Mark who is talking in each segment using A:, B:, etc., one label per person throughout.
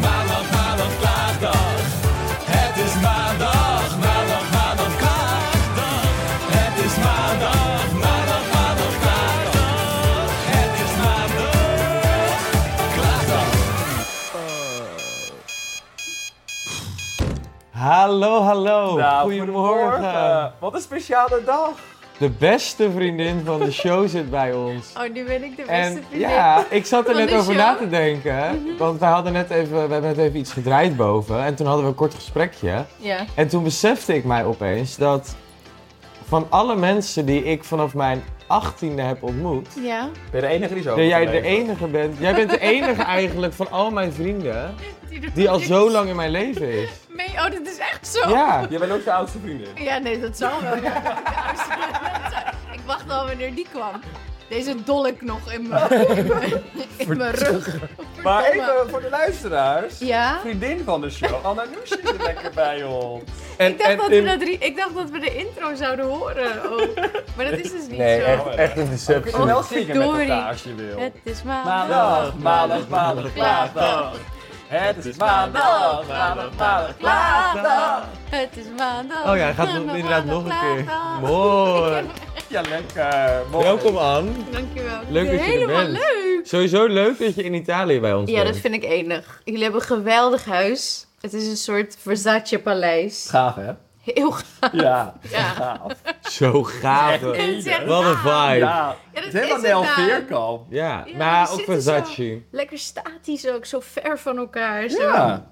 A: maandag, maandag, klaagdag. Het is maandag, maandag, maandag, klaagdag. Het is maandag, maandag, maandag, klaagdag. Het is maandag, klaagdag.
B: Hallo, hallo.
C: Nou,
B: Goedemorgen.
D: Wat een speciale dag.
B: De beste vriendin van de show zit bij ons.
C: Oh, nu ben ik de beste
B: En
C: vriendin.
B: ja, ik zat er
C: van
B: net
C: de
B: over
C: show. Mhm.
B: na te denken. Want we hadden net even, we hebben net even iets gedraaid boven. En toen hadden we een kort gesprekje.
C: Ja.
B: En toen besefte ik mij opeens dat van alle mensen die ik vanaf mijn 18e heb ontmoet,
C: Ja,
D: Ben je de enige die zo
B: dat jij de
D: overleefd?
B: enige bent. Jij bent de enige eigenlijk van al mijn vrienden
C: er
B: die al zo lang in mijn leven is.
C: mee. Oh, dit is echt zo.
B: Ja.
D: Jij bent ook de oudste vriendin.
C: Ja, nee, dat zal wel. Ja, dat zal- ik wacht wel wanneer die kwam. Deze dolk nog in mijn in mijn rug.
D: Maar
C: Verdomme.
D: even voor de luisteraars.
C: Ja?
D: Vriendin van de show, Anna Noes zit er lekker bij ons.
B: En,
C: Ik dacht,
B: en
C: dat we
B: in-
C: dat, ri- ik dacht dat we de intro zouden horen. ook. Maar dat is dus niet zo.
D: echt
B: een
D: We
B: deceptie.
D: kunnen wel zingen met
C: Oh, verdorie.
D: elkaar als je wil.
C: Het is maar.
D: Maandag, maandag, maandag, klaagdag. Het is maandag, maandag, maandag, klaagdag.
C: Het is maandag.
B: Oh ja, hij gaat
C: maandag,
B: inderdaad nog
C: maandag,
B: een keer.
C: maandag.
B: Mooi.
D: Ja, lekker. Mooi.
B: Welkom aan.
C: Dankjewel.
B: Leuk dat je er
C: Helemaal
B: bent.
C: leuk.
B: Sowieso leuk dat je in Italië bij ons
C: Ja,
B: bent.
C: dat vind ik enig. Jullie hebben een geweldig huis. Het is een soort Versace-paleis.
D: Gaaf, hè?
C: Heel gaaf.
D: Ja.
C: Ja.
D: Gaaf.
B: Zo gaaf.
D: Echt
C: Het is echt
B: Wat een
C: gaaf.
B: vibe. Ja,
D: Ja.
C: Ja,
D: Het is
C: dat is
D: helemaal
C: het
D: Nel
C: daar.
D: Veerkamp.
C: Ja,
B: maar
C: die
B: ook
C: zitten
B: Versace.
C: Lekker statisch ook, zo ver van elkaar. Zo.
D: Ja.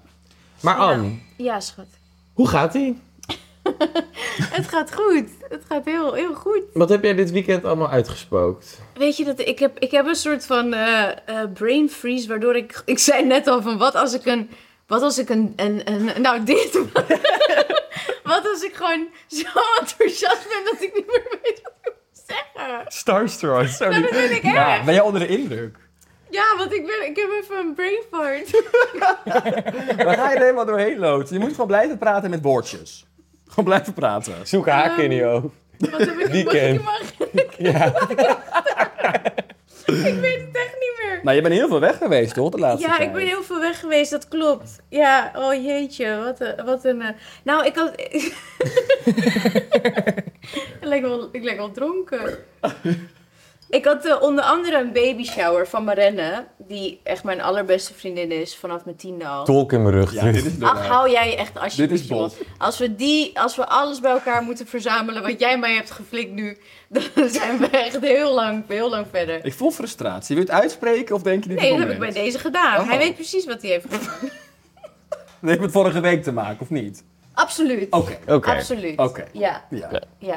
B: Maar Anne,
C: Ja, schat.
B: hoe gaat ie?
C: Het gaat goed. Het gaat heel, heel goed.
B: Wat heb jij dit weekend allemaal uitgespookt?
C: Weet je, dat ik, heb, ik heb een soort van eh, eh, brain freeze, waardoor ik... Ik zei net al van, wat als ik een... Wat als ik een... een, een nou, dit. wat als ik gewoon zo enthousiast ben dat ik niet meer weet wat ik moet zeggen.
D: Starstruck. Sorry.
C: Dat vind ik erg.
D: Ja, ben jij onder de indruk?
C: Ja, want ik, ben, ik heb even een brain fart.
D: Waar ga je er helemaal doorheen loodsen? Je moet gewoon blijven praten met woordjes. Gewoon blijven praten.
B: Zoek haken in je oog.
C: Wat heb ik
B: Weekend.
C: Mag ik, mag, ik weet het echt niet meer.
D: Nou, je bent heel veel weg geweest, toch? De laatste
C: Ja,
D: tijd.
C: ik ben heel veel weg geweest, dat klopt. Ja, oh jeetje, wat een... Wat een eh, nou, ik had... ik, lijk wel, ik lijk wel dronken. Ik had eh, onder andere een baby shower van Marenne, die echt mijn allerbeste vriendin is vanaf mijn tiende al.
B: Tolk in mijn rug.
D: Ja, dit is door.
C: Ach, hou jij echt
D: Dit
C: alsjeblieft.
D: is bot.
C: jongen. Als we, die, als we alles bij elkaar moeten verzamelen wat jij mij hebt geflikt nu, dan zijn we echt heel lang, heel lang verder.
D: Ik voel frustratie. Wil je het uitspreken of denk je niet
C: Nee, dat
D: het
C: heb ik bij deze gedaan.
D: Oh.
C: Hij weet precies wat hij heeft gedaan.
D: Dat heeft met vorige week te maken, of niet?
C: Absoluut.
D: Oké.
B: Oké.
C: Absoluut.
D: Oké.
C: Ja.
D: Ja.
C: ja.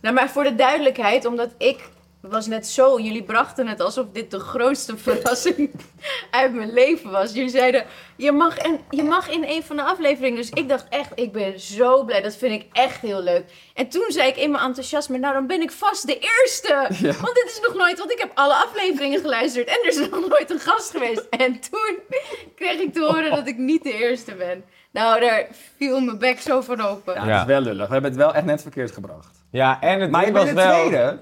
C: Nou, maar voor de duidelijkheid, omdat ik was net zo, jullie brachten het alsof dit de grootste verrassing uit mijn leven was. Jullie zeiden, je mag, en, je mag in een van de afleveringen. Dus ik dacht echt, ik ben zo blij. Dat vind ik echt heel leuk. En toen zei ik in mijn enthousiasme, nou dan ben ik vast de eerste. Want dit is nog nooit, want ik heb alle afleveringen geluisterd. En er is nog nooit een gast geweest. En toen kreeg ik te horen dat ik niet de eerste ben. Nou, daar viel mijn bek zo van open.
D: Ja, het
C: Ja,
B: Ja.
D: is wel lullig. We hebben het wel echt net verkeerd gebracht.
B: Ja, en het
D: Maar
B: ding
D: je bent de
B: was wel...
D: tweede.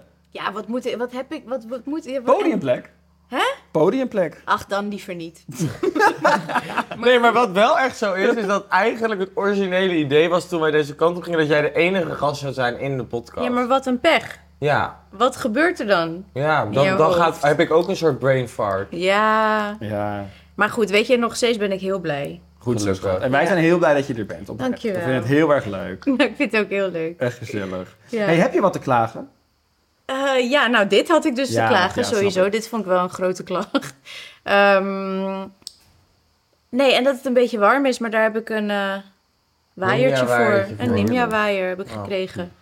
C: wat, moet, ik- wat heb ik, wat, wat moet ik...
D: Podiumplek.
C: Hè?
D: Podiumplek.
C: Ach, dan liever niet.
B: Nee, maar wat wel echt zo is, is dat eigenlijk het originele idee was toen wij deze kant op gingen, dat jij de enige gast zou zijn in de podcast.
C: Ja, maar wat een pech.
B: ja,
C: Wat gebeurt er dan?
B: ja, dan,
C: Je
B: dan gaat,
C: hoofd.
B: heb ik ook een soort brain fart.
C: Ja,
D: Ja.
C: maar goed, weet je, nog steeds ben ik heel blij.
D: Goed zo,
B: Gelukkig.
D: schat. En wij zijn heel blij dat je er bent. Oprecht.
C: Dankjewel.
D: We vinden het heel erg leuk.
C: ik vind het ook heel leuk.
D: Echt gezellig.
C: Ja.
D: Hey, heb je wat te klagen?
C: Eh, ja, nou, dit had ik dus
D: Ja,
C: te klagen
D: ja, snap
C: sowieso.
D: ik.
C: Dit vond ik wel een grote klacht. Ehm, nee, en dat het een beetje warm is, maar daar heb ik een eh waaiertje
B: Ninja-waaiertje
C: voor.
B: voor.
C: Een ninja-waaier heb ik
B: Oh.
C: gekregen.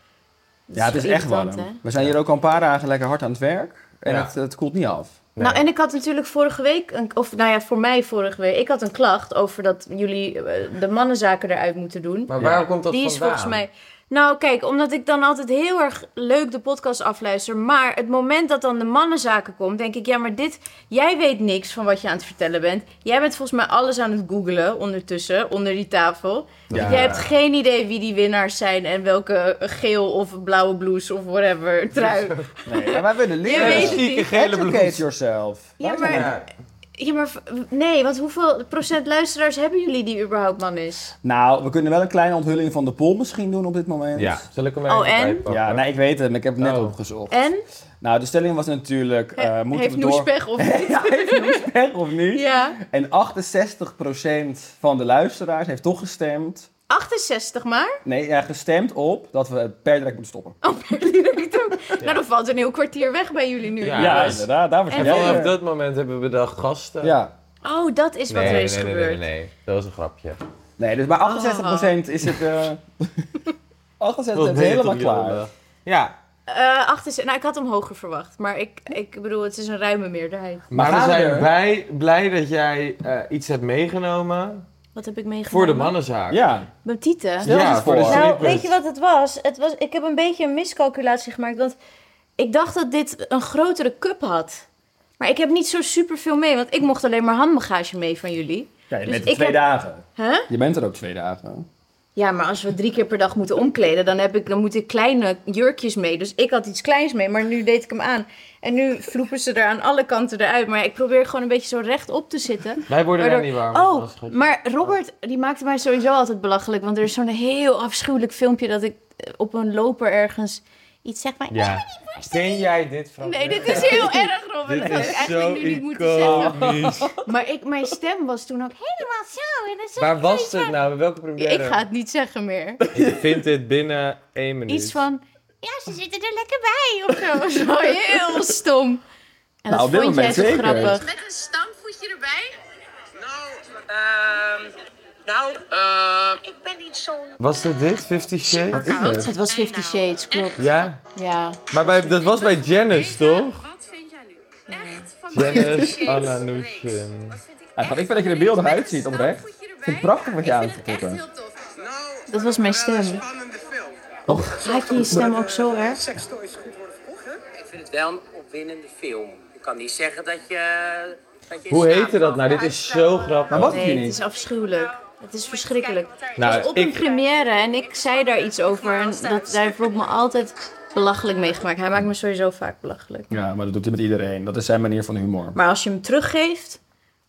C: Dat
D: Ja, het is echt warm.
C: irritant, hè?
D: We zijn hier ook al een paar dagen lekker hard aan het werk. En
B: Ja.
D: het, het koelt niet af.
B: Nee.
C: Nou, en ik had natuurlijk vorige week, een, of nou ja, voor mij vorige week, ik had een klacht over dat jullie eh, de mannenzaken eruit moeten doen.
B: Maar waarom komt dat
C: Die is
B: vandaan?
C: volgens mij. Nou, kijk, omdat ik dan altijd heel erg leuk de podcast afluister. Maar het moment dat dan de mannenzaken komt, denk ik, ja, maar dit. Jij weet niks van wat je aan het vertellen bent. Jij bent volgens mij alles aan het googelen ondertussen, onder die tafel.
D: Ja.
C: Jij hebt geen idee wie die winnaars zijn en welke geel of blauwe blouse of whatever trui.
D: Nee, maar wij willen
C: Je
D: leren.
C: weet het
B: Zieke
C: niet.
B: gele
D: Educate
B: blouse.
D: yourself.
C: Ja,
D: Wij
C: maar-
D: zijn-
B: Ja.
C: Ja, maar v- nee, want hoeveel procent luisteraars hebben jullie die überhaupt man is?
D: Nou, we kunnen wel een kleine onthulling van de poll misschien doen op dit moment.
B: ja. Zal ik hem
C: Oh,
B: even
C: en?
B: bijpakken?
D: Ja, nee, ik weet het, maar ik heb het net
B: Oh.
D: opgezocht.
C: En
D: Nou, de stelling was natuurlijk... eh,
C: He-
D: moeten
C: heeft
D: we door...
C: Noes pech of niet?
D: Ja, heeft Noes pech of niet?
C: ja.
D: En 68% van de luisteraars heeft toch gestemd.
C: 68 maar.
D: Nee, ja, gestemd op dat we per direct moeten stoppen.
C: Oh, per direct ook. Nou, dan valt een heel kwartier weg bij jullie nu.
B: Ja, Ja. dus-
D: inderdaad. Daar was
C: En
D: jij
C: vanaf
D: er.
B: Vanaf dat moment hebben we bedacht gasten.
D: Ja.
C: Oh, dat is wat
B: Nee,
C: er
B: nee,
C: is
B: nee, nee,
C: gebeurd.
B: Nee, nee, dat was een grapje.
D: Nee, dus bij 68%
C: Oh.
D: is het... eh 68% is
B: deed het
D: helemaal
B: op jullie
D: klaar.
B: dag? Ja,
C: Eh, 68 nou, ik had hem hoger verwacht. Maar ik, ik bedoel, het is een ruime meerderheid.
B: maar,
D: gaan
B: we
D: we
B: zijn
D: weer?
B: blij, blij dat jij eh, iets hebt meegenomen
C: Wat heb ik meegemaakt?
B: voor de mannenzaak.
D: Ja.
C: Mijn tieten.
D: Stel eens
B: voor de
D: voor.
C: Nou,
B: snippet.
C: weet je wat het was? het was? Ik heb een beetje een miscalculatie gemaakt. Want ik dacht dat dit een grotere cup had. Maar ik heb niet zo superveel mee. Want ik mocht alleen maar handbagage mee van jullie.
D: Ja, je
C: Dus
D: bent er
C: ik
D: twee
C: heb-
D: dagen.
C: Huh?
D: Je bent er ook twee dagen.
C: Ja, maar als we drie keer per dag moeten omkleden, dan, heb ik, dan moet ik kleine jurkjes mee. Dus ik had iets kleins mee, maar nu deed ik hem aan. En nu vloepen ze er aan alle kanten eruit. Maar ik probeer gewoon een beetje zo recht op te zitten.
B: Wij worden er
C: Waardoor-
B: niet warm.
C: Oh,
B: Dat is goed.
C: maar Robert, die maakte mij sowieso altijd belachelijk. Want er is zo'n heel afschuwelijk filmpje dat ik eh, op een loper ergens iets zeg maar...
B: Ja. Ken jij dit van?
C: Nee, dit is heel erg, Robert. Dat had ik eigenlijk nu niet moeten zeggen. Maar ik, mijn stem was toen ook helemaal zo. En dan zeg
B: Waar
C: ik
B: was
C: iets
B: dit
C: van-
B: nou? Welke première?
C: Ik ga het niet zeggen meer.
B: Ik vind dit binnen één minuut.
C: Iets van, ja, ze zitten er lekker bij of zo. zo heel stom. En
D: Nou, op dit
C: dat vond jij
D: moment
C: zo
D: zeker.
C: grappig.
E: Met een stampvoetje erbij? Nou, ehm. nou, ehm. Ik ben niet zo'n.
B: Was dit dit? Fifty Shades?
C: Het was Fifty Shades, klopt.
B: Ja,
C: Ja.
B: maar bij, dat was bij Janice, toch?
E: Wat vind jij nu? Echt van
B: Janice Ananushin.
D: Ja, schat, ik vind dat je er beeldig uitziet, oprecht. Ik vind het prachtig wat je aan hebt getrokken.
C: Dat was mijn stem. Haat je je stem ook zo erg?
F: Ik vind het wel een opwindende film. Je kan niet zeggen dat je... Dat je
B: Hoe heette dat nou? Dit is zo grappig.
D: Maar wat
C: Nee,
D: je
C: het
D: niet?
C: is afschuwelijk. Het is verschrikkelijk.
B: Nou,
C: Het was op een
B: ik-
C: première en ik zei daar iets over. En dat, daar heeft Rob me altijd belachelijk meegemaakt. Hij maakt me sowieso vaak belachelijk.
D: Ja, maar dat doet hij met iedereen. Dat is zijn manier van humor.
C: Maar als je hem teruggeeft,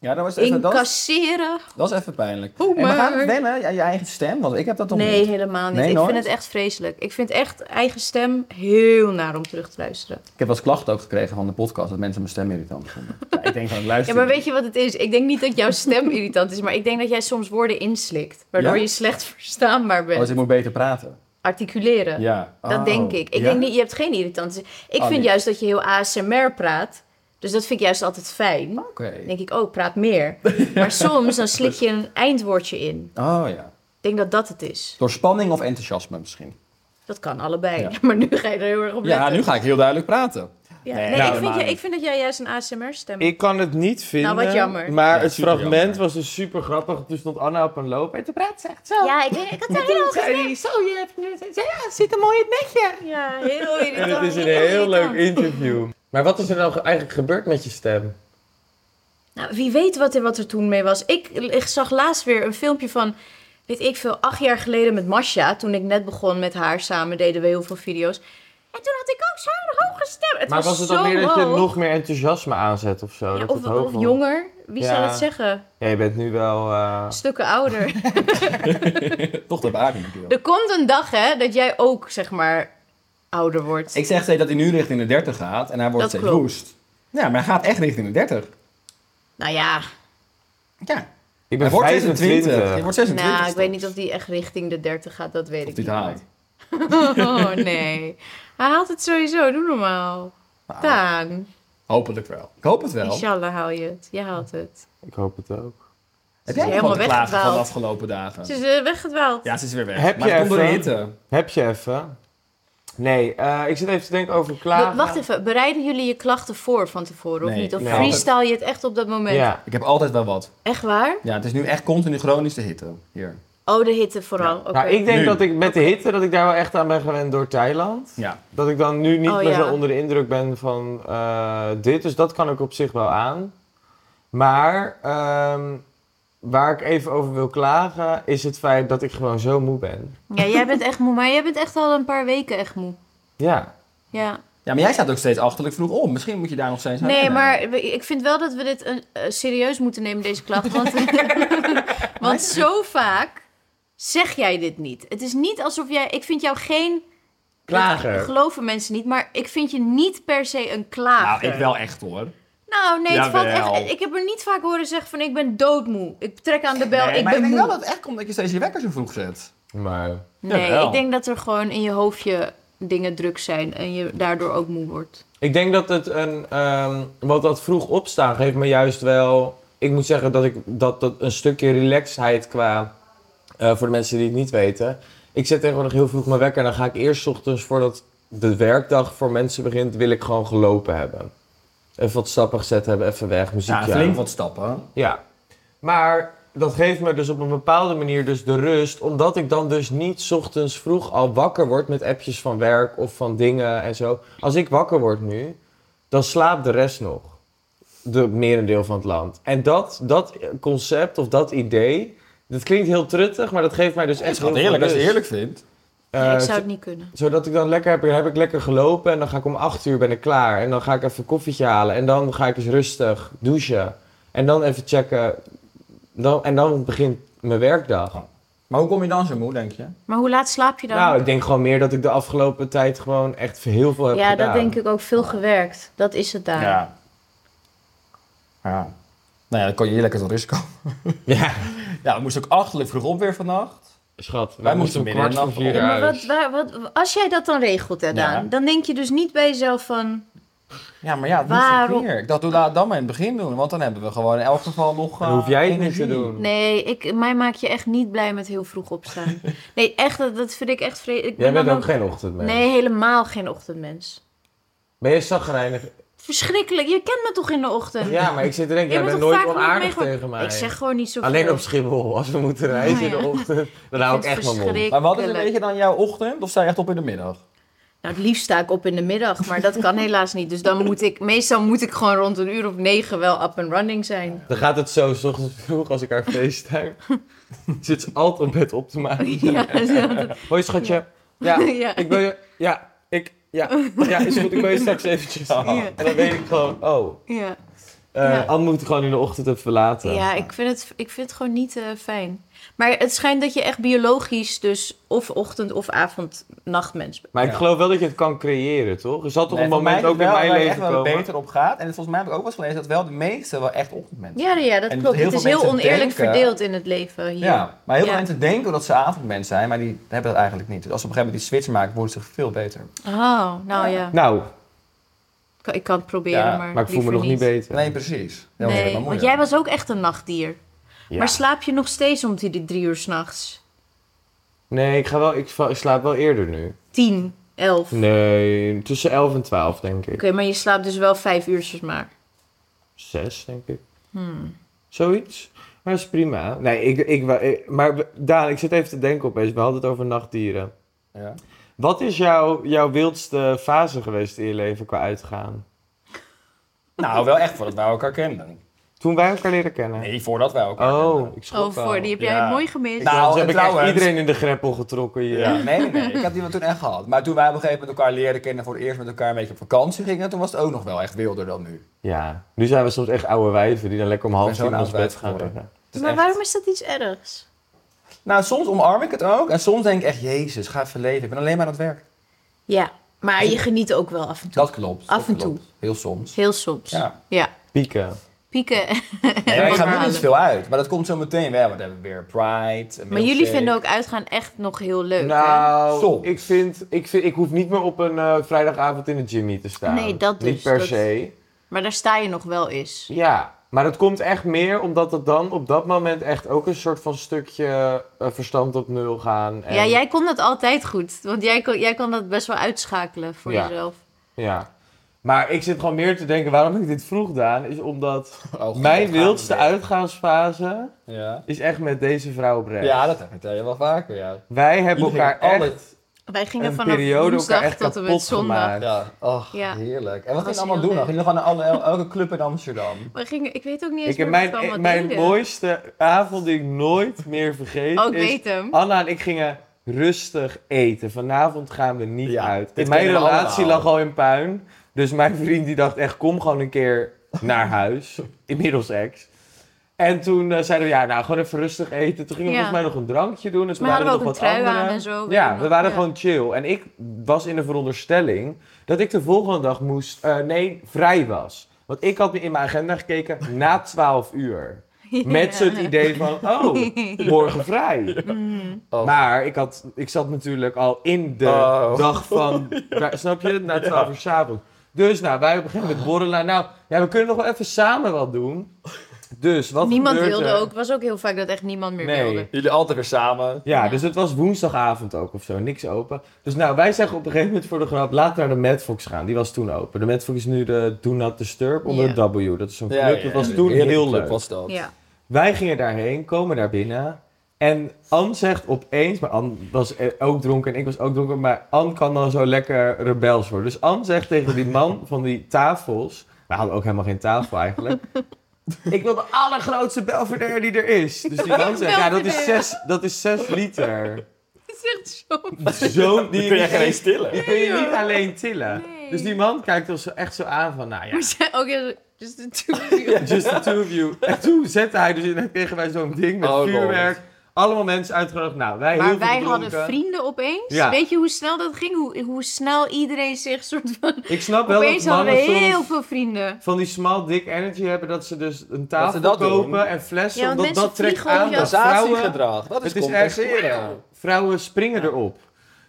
D: Ja, dat was even, dat, is-
C: incasseren...
D: dat is even pijnlijk.
C: Hoe
D: En we gaan
C: maar?
D: het wennen aan je eigen stem, want ik heb dat toch
C: Nee,
D: niet.
C: helemaal niet.
D: Nee,
C: ik
D: nooit?
C: vind het echt vreselijk. Ik vind echt eigen stem heel naar om terug te luisteren.
D: Ik heb als klacht ook gekregen van de podcast dat mensen mijn stem irritant vonden. Ja, ik denk van, ik
C: Ja,
D: luister
C: maar
D: niet.
C: weet je wat het is? Ik denk niet dat jouw stem irritant is, maar ik denk dat jij soms woorden inslikt. Waardoor
D: Ja?
C: je slecht verstaanbaar
D: Oh, dus
C: bent.
D: ik moet beter praten. Oh.
C: Articuleren.
D: Ja.
C: Dat denk
B: Oh,
C: ik. Ik denk niet, je hebt geen irritantie. Ik
D: Oh,
C: vind
D: nee.
C: juist dat je heel ASMR praat. Dus dat vind ik juist altijd fijn. Dan
D: Oké.
C: denk ik, oh, praat meer. Maar soms dan slik je een eindwoordje in.
D: Oh ja.
C: Ik denk dat dat het is.
D: Door spanning of enthousiasme misschien.
C: Dat kan allebei.
D: Ja.
C: Maar nu ga je er heel erg op letten.
D: Ja, nu ga ik heel duidelijk praten.
C: Ja.
D: Nee,
C: Nee,
D: nou,
C: ik, vind
D: helemaal
C: je, ik vind dat jij juist een ASMR-stem hebt.
B: Ik kan het niet vinden.
C: Nou, wat jammer.
B: Maar
D: Ja,
B: het
D: super
B: fragment
D: jammer.
B: was dus super grappig. Toen stond Anna op een loop en toen praat ze echt zo.
G: Ja, ik weet ik had er
B: Toen
G: heel
B: zei hij, zo, je hebt nu... zei, Ja, zit er mooi in het netje.
C: Ja, heel irritant.
B: En het is een heel leuk interview. Maar wat is er nou eigenlijk gebeurd met je stem?
C: Nou, wie weet wat er, wat er toen mee was. Ik, ik zag laatst weer een filmpje van, weet ik veel, acht jaar geleden met Masha. Toen ik net begon met haar samen, deden we heel veel video's. En toen had ik ook zo'n hoge stem. Het
B: maar was
C: was
B: het
C: zo
B: dan meer dat je
C: hoog.
B: nog meer enthousiasme aanzet of zo?
C: Ja,
B: dat
C: of,
B: het hoog
C: of
B: wordt?
C: jonger, wie zou
B: Ja.
C: het zeggen?
B: Ja, je bent nu wel... eh,
C: Stukken ouder.
D: Toch de waarde natuurlijk.
C: er komt een dag, hè, dat jij ook, zeg maar, ouder wordt.
D: Ik zeg steeds dat hij nu richting de 30 gaat en hij wordt
C: Dat
D: steeds
C: klopt.
D: woest. Ja, maar hij gaat echt richting de 30.
C: Nou ja,
D: Ja.
B: Ik ben
D: Hij wordt
B: 25.
D: 26. Hij wordt 26.
C: nou, ik
D: straks.
C: weet niet of die echt richting de 30 gaat, dat weet
D: Of
C: ik
D: die het
C: niet.
D: haalt.
C: Oh nee. Hij haalt het sowieso, doe normaal.
B: Nou.
C: Daan,
B: Oh.
D: Hopelijk wel. Ik hoop het wel.
C: inshallah haal je het. Je haalt het.
B: Ik hoop het ook.
D: Heb
C: is
D: jij helemaal
C: helemaal
D: geklaagd van de
C: weggedwaald.
D: afgelopen dagen?
C: Ze is eh, weggedwaald.
D: Ja, ze is weer weg.
B: Heb
D: maar
B: je
D: het komt door de
B: even-
D: hitte.
B: Heb je even? Nee, eh, ik zit even te denken over
C: Wa-
B: klagen.
C: Wacht even, bereiden jullie je klachten voor van tevoren of
D: Nee,
C: niet? Of
B: nee.
C: freestyle je het echt op dat moment?
B: Ja.
D: Ik heb altijd wel wat.
C: Echt waar?
D: Ja, het is nu echt continu chronische hitte hier.
C: Oh, de hitte vooral. Oké.
B: Nou, ik denk
D: Nu.
B: dat ik met de hitte, dat ik daar wel echt aan ben gewend door Thailand.
D: Ja.
B: Dat ik dan nu niet
C: Oh,
B: meer
C: ja.
B: zo onder de indruk ben van eh, dit. Dus dat kan ik op zich wel aan. Maar ehm, waar ik even over wil klagen, is het feit dat ik gewoon zo moe ben.
C: Ja, jij bent echt moe, maar jij bent echt al een paar weken echt moe.
B: Ja.
C: Ja.
D: Ja, maar jij staat ook steeds achterlijk vroeg op. Misschien moet je daar nog steeds aan
C: Nee,
D: wennen.
C: maar we- ik vind wel dat we dit een, eh, serieus moeten nemen, deze klacht. Want, want zo vaak zeg jij dit niet. Het is niet alsof jij... Ik vind jou geen... Dat
B: Klager.
C: geloven mensen niet, maar ik vind je niet per se een klager.
D: Nou, ik wel echt hoor.
C: Nou, nee, het valt
D: Jawel.
C: echt... Ik heb er niet vaak horen zeggen van ik ben doodmoe. Ik trek aan de bel,
D: Nee,
C: ik
D: maar
C: ben
D: ik denk
C: moe.
D: wel dat het echt komt dat je steeds je wekker zo vroeg zet.
B: Maar
C: Nee,
D: Jawel.
C: ik denk dat er gewoon in je hoofdje dingen druk zijn en je daardoor ook moe wordt.
B: ik denk dat het een. ehm want dat vroeg opstaan geeft me juist wel. Ik moet zeggen dat ik dat, dat een stukje relaxedheid qua. eh, voor de mensen die het niet weten. Ik zet tegenwoordig heel vroeg mijn wekker. En dan ga ik eerst 's ochtends voordat de werkdag voor mensen begint. wil ik gewoon gelopen hebben. Even wat stappen gezet hebben, even weg,
D: Ja,
B: muziekje aan.
D: flink wat stappen.
B: Ja. Maar dat geeft me dus op een bepaalde manier dus de rust. Omdat ik dan dus niet 's ochtends vroeg al wakker word met appjes van werk of van dingen en zo. Als ik wakker word nu, dan slaapt de rest nog. De merendeel van het land. En dat, dat concept of dat idee, dat klinkt heel truttig, maar dat geeft mij dus
D: Het is
B: echt
D: gewoon
B: heel veel
D: eerlijk als je het
B: rust.
D: eerlijk vindt.
C: Nee,
B: Eh,
C: ik zou het niet kunnen.
B: zodat ik dan lekker heb, heb ik lekker gelopen en dan ga ik om 8 uur ben ik klaar. En dan ga ik even een koffietje halen en dan ga ik eens rustig douchen. En dan even checken. Dan, en dan begint mijn werkdag.
D: Maar hoe kom je dan zo moe, denk je?
C: Maar hoe laat slaap je dan?
B: Nou, ik denk gewoon meer dat ik de afgelopen tijd gewoon echt heel veel heb
C: ja,
B: gedaan.
C: dat denk ik ook. Veel gewerkt. Dat is het daar.
D: Ja. Ja. Nou ja, dan kon je hier lekker tot rust komen.
B: Ja,
D: Ja, we moesten ook achterlijk vroeg op weer vannacht.
B: schat. Wij,
D: Wij moesten
B: moesten om kwart voor
D: middernacht
B: vier
D: op.
C: Ja, maar
B: uit.
C: wat, waar- wat, als jij dat dan regelt, hè, Daan,
D: Ja.
C: dan denk je dus niet bij jezelf van...
D: Ja, maar ja, het moest
C: Waarom?
D: een keer. Ik dacht, doe laat dan maar in het begin doen. Want dan hebben we gewoon in elk geval nog
B: Dan hoef
D: eh,
B: jij het niet
D: energie.
B: te doen.
C: Nee, ik, mij maak je echt niet blij met heel vroeg opstaan. nee, echt, dat, dat vind ik echt vreselijk. Ik
B: Jij
C: ben
B: bent
C: dan
B: ook geen ochtendmens.
C: Nee, helemaal geen ochtendmens.
B: Ben je zagrijnig?
C: Verschrikkelijk. Je kent me toch in de ochtend?
B: Ja, maar ik zit te denken, jij
C: Jij
B: bent
C: toch
B: nooit
C: vaak goed
B: onaardig
C: meegemaakt?
B: tegen mij.
C: Ik zeg gewoon niet zo
B: Alleen op Schiphol, als we moeten reizen in
C: Oh,
B: de
C: ja.
B: ochtend. Dan hou ik echt mijn mond.
D: Maar wat is een beetje dan jouw ochtend? Of sta je echt op in de middag?
C: Nou, het liefst sta ik op in de middag, maar dat kan helaas niet. Dus dan moet ik, meestal moet ik gewoon rond een uur of negen wel up and running zijn.
B: Dan gaat het zo, s ochtends vroeg als ik haar FaceTime. zit ze altijd om bed op te maken.
C: Ja, dat-
B: Hoi schatje. Ja,
C: Ja.
B: ik wil je... Ja, ik... Ja, ja, is goed. Ik wil je straks eventjes.
C: Ja.
B: En dan weet ik gewoon, oh,
C: ja.
B: eh
C: Ja.
B: Anne moet gewoon in de ochtend even verlaten.
C: ja ik, vind het, ik vind het gewoon niet eh, fijn. Maar het schijnt dat je echt biologisch dus of ochtend of avond nachtmens bent.
B: Maar ik
D: Ja.
B: geloof wel dat je het kan creëren, toch? Er zal toch een
D: Nee, voor
B: moment
D: mij
B: ook in
D: wel,
B: mijn
D: waar je
B: leven
D: echt wel
B: komen.
D: beter op gaat. En volgens mij heb ik ook wel eens gelezen dat wel de meeste wel echt ochtendmensen
C: Ja, ja dat
D: En
C: klopt.
D: heel
C: Het is
D: veel
C: heel
D: mensen
C: oneerlijk
D: denken-
C: verdeeld in het leven hier.
D: Ja, maar heel veel
C: Ja.
D: mensen denken dat ze avondmens zijn, maar die hebben dat eigenlijk niet. Dus als ze op een gegeven moment die switch maken, worden ze veel beter.
C: Oh, nou ja.
B: Nou,
C: Ik kan- Ik kan het proberen,
D: Ja,
C: maar
B: maar ik voel me
C: liever
B: nog niet beter.
D: Nee, precies. Dat was helemaal
C: Nee, want
D: moeilijk.
C: jij was ook echt een nachtdier.
B: Ja.
C: Maar slaap je nog steeds om die drie uur s'nachts?
B: Nee, ik, ga wel, ik, va- ik slaap wel eerder nu.
C: Tien. Elf. Oké,
B: Nee, tussen 11 en 12 denk ik.
C: maar je slaapt dus wel vijf uurtjes maar.
B: Zes, denk ik.
C: Hmm.
B: Zoiets. Maar dat is prima. Nee, ik, ik, wa- ik- maar we- Daan, ik zit even te denken opeens. We hadden het over nachtdieren.
D: Ja.
B: Wat is jouw, jouw wildste fase geweest in je leven qua uitgaan?
D: Nou, wel echt voordat wij elkaar kenden.
B: Toen wij elkaar leren kennen.
D: Nee, voordat wij elkaar
B: Oh,
D: kenden.
B: ik schrok
C: Oh, voor,
B: al.
C: die heb
D: Ja.
C: jij mooi gemist.
D: Nou,
B: Anders heb ik echt
D: trouwens-
B: iedereen in de greppel getrokken hier.
D: Ja, nee, nee, nee. Ik had die wel toen echt gehad. Maar toen wij op een gegeven moment elkaar leren kennen, voor het eerst met elkaar een beetje op vakantie gingen, toen was het ook nog wel echt wilder dan nu.
B: Ja. Nu zijn we soms echt oude wijven die dan lekker om half
D: ben zo'n
B: tien in ons
D: oud wijf
B: bed gaan
D: geworden.
B: liggen.
D: Het is
C: maar
D: echt-
C: waarom is dat iets ergs?
D: Nou, soms omarm ik het ook. En soms denk ik echt, jezus, ga even leven. Ik ben alleen maar aan het werk.
C: Ja, maar je geniet ook wel af en toe.
D: Dat klopt.
C: Af en
D: dat klopt. Heel soms.
C: Heel soms.
D: Ja.
C: ja.
B: Pieken.
C: Pieken.
D: Nee, maar ik ga nu
C: Halen.
D: niet veel uit. Maar dat komt zo meteen wel. Want we hebben weer Pride.
C: Maar jullie vinden ook uitgaan echt nog heel leuk, hè?
B: Nou,
D: Soms.
B: ik vind, ik vind, ik hoef niet meer op een eh, vrijdagavond in de Jimmy te staan.
C: Nee, dat
B: Niet
C: dus,
B: per
C: dat-
B: se.
C: Maar daar sta je nog wel eens.
B: Ja, maar dat komt echt meer omdat het dan op dat moment echt ook een soort van stukje eh, verstand op nul gaan. En,
C: Ja, jij kon dat altijd goed. Want jij kon, jij kon dat best wel uitschakelen voor
B: Ja.
C: jezelf.
B: Ja. Maar ik zit gewoon meer te denken waarom ik dit vroeg, Daan, is omdat
D: Oh, God, daar
B: mijn
D: gaan we
B: wildste
D: weer.
B: uitgaansfase
D: Ja.
B: is echt met deze vrouw oprecht.
D: ja, dat vertel je wel vaker. Ja.
B: Wij hebben
D: Iedereen
B: elkaar
D: altijd-
B: echt
C: Wij gingen
B: een
C: vanaf
B: periode elkaar
C: woensdag
B: echt
C: tot en
B: kapot
C: met zondag.
B: gemaakt.
D: Ja, ach,
C: Ja.
D: heerlijk. En wat
C: was
D: ging je allemaal
C: heel
D: doen?
C: leuk.
D: dan? Gingen we gewoon naar alle, elke club in Amsterdam?
C: We gingen, ik weet ook niet eens
B: Ik heb
C: meer wat
B: mijn, eh,
C: we allemaal
B: mijn
C: deden.
B: mooiste avond die ik nooit meer vergeet.
C: Oh, ik
B: is
C: weet hem.
B: Anna en ik gingen rustig eten. Vanavond gaan we niet
D: Ja,
B: uit.
D: dit
B: mijn
D: kennen we
B: relatie
D: allemaal.
B: lag al in puin. Dus mijn vriend die dacht echt, kom gewoon een keer naar huis. Inmiddels ex. En toen eh, zeiden we, ja, nou, gewoon even rustig eten. Toen gingen we
C: Ja.
B: volgens mij nog een drankje doen. En toen
C: Maar
B: dus waren
C: hadden we
B: er
C: ook
B: nog
C: een
B: wat
C: trui aan
B: anderen.
C: en zo, weet ik
B: Ja,
C: nog,
B: we waren
C: ja.
B: gewoon chill. En ik was in de veronderstelling dat ik de volgende dag moest, eh, nee, vrij was. Want ik had in mijn agenda gekeken na 12 uur. Met
C: Ja.
B: het idee van, oh, morgen vrij.
C: Mm.
D: Oh.
B: Maar ik, had, ik zat natuurlijk al in de
D: Oh.
B: dag van, waar- snap je, na 12 uur s'avond. Dus nou, wij op een gegeven moment borrelen. Nou, ja, we kunnen nog wel even samen wat doen. Dus wat
C: Niemand
B: gebeurt
C: wilde
B: er?
C: ook. was ook heel vaak dat echt niemand meer
B: Nee.
C: wilde.
D: Jullie altijd weer samen.
B: Ja,
C: Ja.
B: dus het was woensdagavond ook of zo, niks open. Dus nou, wij zeggen op een gegeven moment voor de grap, laten we naar de Madfox gaan. Die was toen open. De Madfox is nu de Do Not Disturb onder
C: Ja.
B: de W. Dat is zo'n club, dat was toen
D: Heerlijke
B: heel
D: club
B: leuk.
D: was dat.
C: Ja.
B: Wij gingen daarheen, komen daar binnen. En Anne zegt opeens, maar Anne was eh, ook dronken en ik was ook dronken, maar Anne kan dan zo lekker rebels worden. Dus Anne zegt tegen die man van die tafels, we hadden ook helemaal geen tafel eigenlijk. Ik wil de allergrootste Belvedere die er is. Dus die man zegt, ja dat is 6 dat is zes liter.
C: Het is echt zo...
B: Zo'n
D: Die kun je geen stillen.
B: Die kun je niet alleen tillen.
C: Nee.
B: Dus die man kijkt ons echt zo aan van, nou ja,
C: We zijn ook heel... dus Just the two of you.
B: Just the two of you. En toen zette hij dus in, kregen wij zo'n ding met
D: Oh,
B: vuurwerk. Allemaal mensen uitgenodigd. Nou, wij heel
C: Maar
B: veel
C: wij
B: gedronken.
C: hadden vrienden opeens.
B: Ja.
C: Weet je hoe snel dat ging? Hoe, hoe snel iedereen zich soort van...
B: Ik snap wel dat
C: Opeens hadden we
B: mannen soms
C: heel veel vrienden.
B: van die small dick energy hebben dat ze dus een tafel
D: ze dat
B: kopen
D: doen.
B: en flessen.
C: Ja, want
B: omdat
C: mensen
B: dat trekt
C: vliegen
B: aan
C: over je
B: dat
C: af.
B: vrouwen...
D: Compensatiegedrag. Dat is
B: Het is echt...
D: compenseren.
B: Vrouwen springen erop.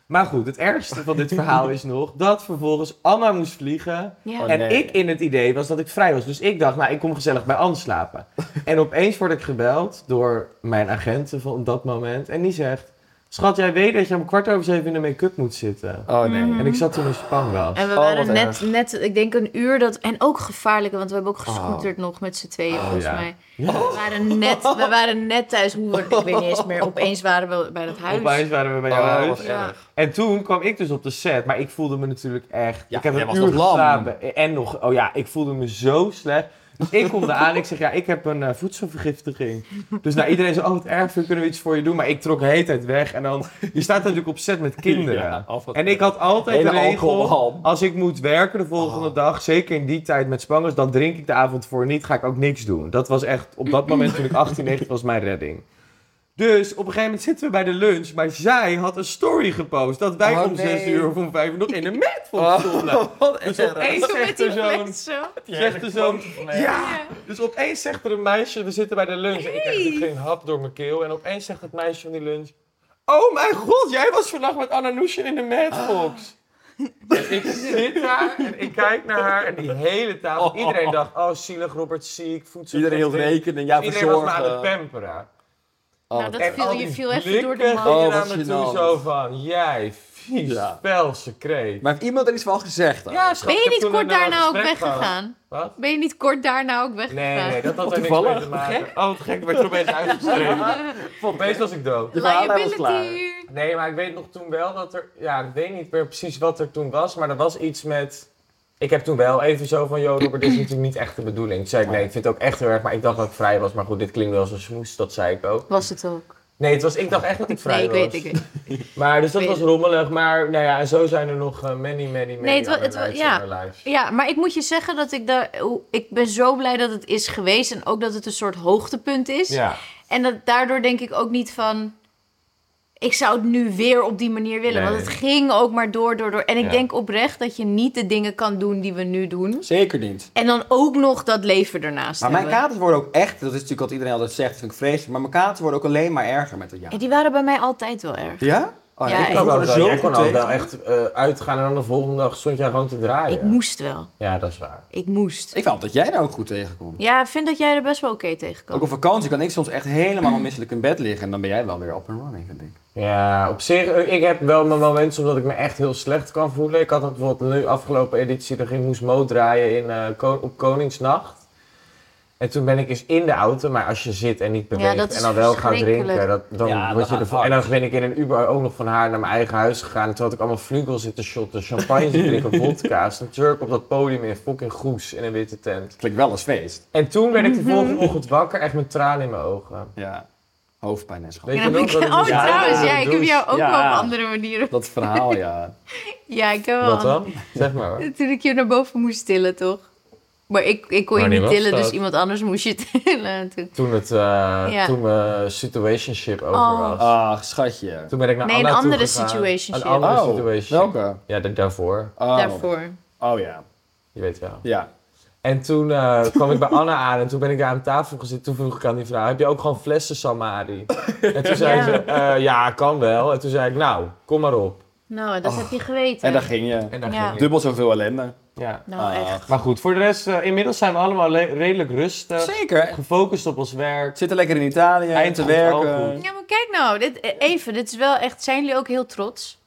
B: Maar goed, het ergste van dit verhaal is nog dat vervolgens Anna moest vliegen.
C: Ja.
D: Oh,
B: en
D: nee.
B: ik in het idee was dat ik vrij was. Dus ik dacht, nou, ik kom gezellig bij Anne slapen. en opeens word ik gebeld door mijn agenten van dat moment. En die zegt, schat, jij weet dat je om kwart over zeven in de make-up moet zitten.
D: Oh nee.
B: En ik zat toen in Spangas.
C: Mhm. En we
D: Oh,
C: waren
D: wat
C: net,
D: erg.
C: net, ik denk een uur dat... En ook gevaarlijker, want we hebben ook gescooterd nog met z'n tweeën, volgens
B: Oh. ja.
C: mij.
B: Ja.
C: We, waren net, we waren net thuis. Hoe we, ik weet niet eens meer. Opeens waren we bij dat huis.
B: Opeens waren we bij jou
D: Oh,
B: huis.
D: wat
C: Ja.
D: erg.
B: En toen kwam ik dus op de set, maar ik voelde me natuurlijk echt...
D: Ja,
B: ik heb
D: jij
B: een
D: was
B: uur
D: nog lam.
B: geslapen en nog... Oh ja, ik voelde me zo slecht. Dus ik kom eraan ik zeg, ja, ik heb een eh, voedselvergiftiging. Dus nou, iedereen zo, oh wat erg, veel kunnen we iets voor je doen? Maar ik trok de hele tijd weg. En dan, je staat natuurlijk op set met kinderen.
D: Ja, af wat-
B: en ik had altijd de
D: Hele
B: regel,
D: alcoholhalm.
B: als ik moet werken de volgende
D: Oh.
B: dag, zeker in die tijd met spangers, dan drink ik de avond voor niet, ga ik ook niks doen. Dat was echt, op dat moment toen ik 18, 19 was mijn redding. Dus op een gegeven moment zitten we bij de lunch, maar zij had een story gepost dat wij
D: Oh,
B: om 6
D: nee. Oh,
B: uur of om 5 uur nog in de met stonden. dus opeens
C: Zo met
B: zegt
C: die
B: er zo'n... Oh,
C: flex zo.
B: Zegt er zo'n... Ja! Dus opeens zegt er een meisje, we zitten bij de lunch en ik krijg natuurlijk geen hap door mijn keel. En opeens zegt het meisje van die lunch, oh mijn god, jij was vannacht met Anna Nushin in de Madfox. En ik zit daar en ik kijk naar haar en die hele tafel. Iedereen dacht, oh zielig, Robert ziek, voedsel.
D: Iedereen hield rekening, ja,
B: Iedereen was me aan
D: verzorgen.
B: het pamperen.
D: Oh,
C: Nou, dat
B: Echt
C: viel,
B: al
C: je
B: die
C: viel even door de
B: blikken
C: man.
D: Oh,
B: gingen
D: wat
B: naar me
D: gênant.
B: toe zo van, jij Vies, fel, secreet.
D: Maar heeft iemand er iets van gezegd? dan?
B: Ja, schat,
C: Ben
B: ik
C: je
B: heb
C: niet
B: toen
C: kort
B: een,
C: daarna
B: eh,
C: ook
B: gesprek gehad.
C: weggegaan?
B: Wat?
C: Ben je niet kort daarna ook weggegaan?
B: Nee, nee, dat had
D: Wat
B: er niks mee
D: toevallig,
B: te
D: hoe gek.
B: maken. Oh, wat gek, ik werd er opeens uitgeschreven. Opeens was ik dood.
D: De verhaallijn was
C: Liability.
B: Nee, maar ik weet nog toen wel dat er... Ja, ik weet niet meer precies wat er toen was, maar er was iets met... Ik heb toen wel even zo van, joh Robert, dit is natuurlijk niet echt de bedoeling. Toen zei ik, nee, ik vind het ook echt heel erg, maar ik dacht dat ik vrij was. Maar goed, dit klinkt wel als een smoes, dat zei ik ook.
C: Was het ook?
B: Nee, het was, ik dacht echt dat ik vrij
C: nee, ik
B: was.
C: weet, ik weet.
B: Maar dus dat
C: Ik weet
B: was rommelig, maar nou ja, en zo zijn er nog eh, many, many, many
C: Nee, het wa-
B: other
C: het wa-
B: nights
C: ja.
B: in our lives.
C: Ja, maar ik moet je zeggen dat ik daar... hoe- Ik ben zo blij dat het is geweest en ook dat het een soort hoogtepunt is.
B: Ja.
C: En dat, daardoor denk ik ook niet van... Ik zou het nu weer op die manier willen.
B: Nee.
C: Want het ging ook maar door, door, door. En ik
B: Ja.
C: denk oprecht dat je niet de dingen kan doen die we nu doen.
D: Zeker niet.
C: En dan ook nog dat leven ernaast
D: Maar mijn
C: hebben.
D: katers worden ook echt, dat is natuurlijk wat iedereen altijd zegt, dat vind ik vreselijk, maar mijn katers worden ook alleen maar erger met het jaar.
C: Ja, die waren bij mij altijd wel erg.
D: Ja? Oh,
C: Ja,
D: ik
B: Ik
D: kan
B: kan
D: er
B: wel,
D: zo
B: jij kon
D: goed
B: al
D: tegen.
B: wel echt eh, uitgaan en dan de volgende dag stond jij gewoon te draaien.
C: Ik moest wel.
B: Ja, dat is waar.
C: Ik moest.
D: Ik vond dat jij daar ook goed tegen kon.
C: Ja, ik vind dat jij er best wel oké tegen kan.
D: Ook op vakantie kan ik soms echt helemaal misselijk in bed liggen en dan ben jij wel weer up and running, vind ik.
B: Ja, op zich, eh, ik heb wel mijn momenten soms dat ik me echt heel slecht kan voelen. Ik had het bijvoorbeeld nu afgelopen editie, daar ging moest Mo draaien in, eh, Ko- op Koningsnacht. En toen ben ik eens in de auto, maar als je zit en niet beweegt
C: dat is
B: en dan wel gaat
C: verschrikkelijk.
B: drinken, dat, dan
D: Ja, dan
B: word je
D: gaat
B: ervan.
D: het
B: En dan
D: hard.
B: ben ik in een Uber ook nog van haar naar mijn eigen huis gegaan. En toen had ik allemaal vlugel zitten shotten, champagne zitten drinken, vodka's. Een Turk op dat podium in fucking Goes in een witte tent.
D: Klinkt wel als feest.
B: En toen werd ik
C: Mhm.
B: de volgende ochtend wakker, echt met tranen in mijn ogen.
D: Ja. Hoofdpijn en schade.
B: Weet
C: Ja,
B: je
C: dan
B: nog?
C: ben
B: dat
C: ik-
B: ik
C: oh,
B: moest huilen
C: trouwens,
B: in de
C: ja, ik heb
B: douche?
C: jou ook
D: Ja.
C: wel op andere manieren.
D: Dat verhaal, ja.
C: Ja, ik heb wel.
B: Wat dan? Zeg maar. hoor.
C: Toen ik je naar boven moest tillen, toch? Maar ik, ik kon je
B: Maar
C: niet
B: die was
C: tillen,
B: dat.
C: dus iemand anders moest je tillen. Toen.
B: Toen het, eh, toen mijn situationship over
C: Oh.
B: was.
D: Ach, schatje.
B: Toen ben ik naar
C: Nee,
B: Anna
C: een andere
B: toegegaan.
C: situationship.
B: Een andere
D: Oh,
B: situation.
D: welke?
B: Ja, da- daarvoor.
D: Oh.
C: Daarvoor.
D: Oh ja.
B: Je weet wel.
D: Ja.
B: En toen eh, kwam ik bij Anna aan en toen ben ik daar aan tafel gezeten. Toen vroeg ik aan die vrouw, heb je ook gewoon flessen Samari? En toen zei
C: Ja.
B: ze, eh, ja, kan wel. En toen zei ik, nou, kom maar op.
C: Nou, en dat heb je geweten.
D: Oh. En daar ging je.
B: En daar
C: Ja.
B: ging ik.
D: Dubbel zoveel ellende.
B: Ja.
C: Nou,
D: Ah.
C: echt.
B: Maar goed, voor de rest, eh, inmiddels zijn we allemaal le- redelijk rustig.
D: Zeker.
B: Gefocust op ons werk.
D: Zitten lekker in Italië,
B: Eind
D: te
B: goed, al
D: werken.
B: goed.
C: Ja, maar kijk nou, dit, eh, even, dit is wel echt. Zijn jullie ook heel trots?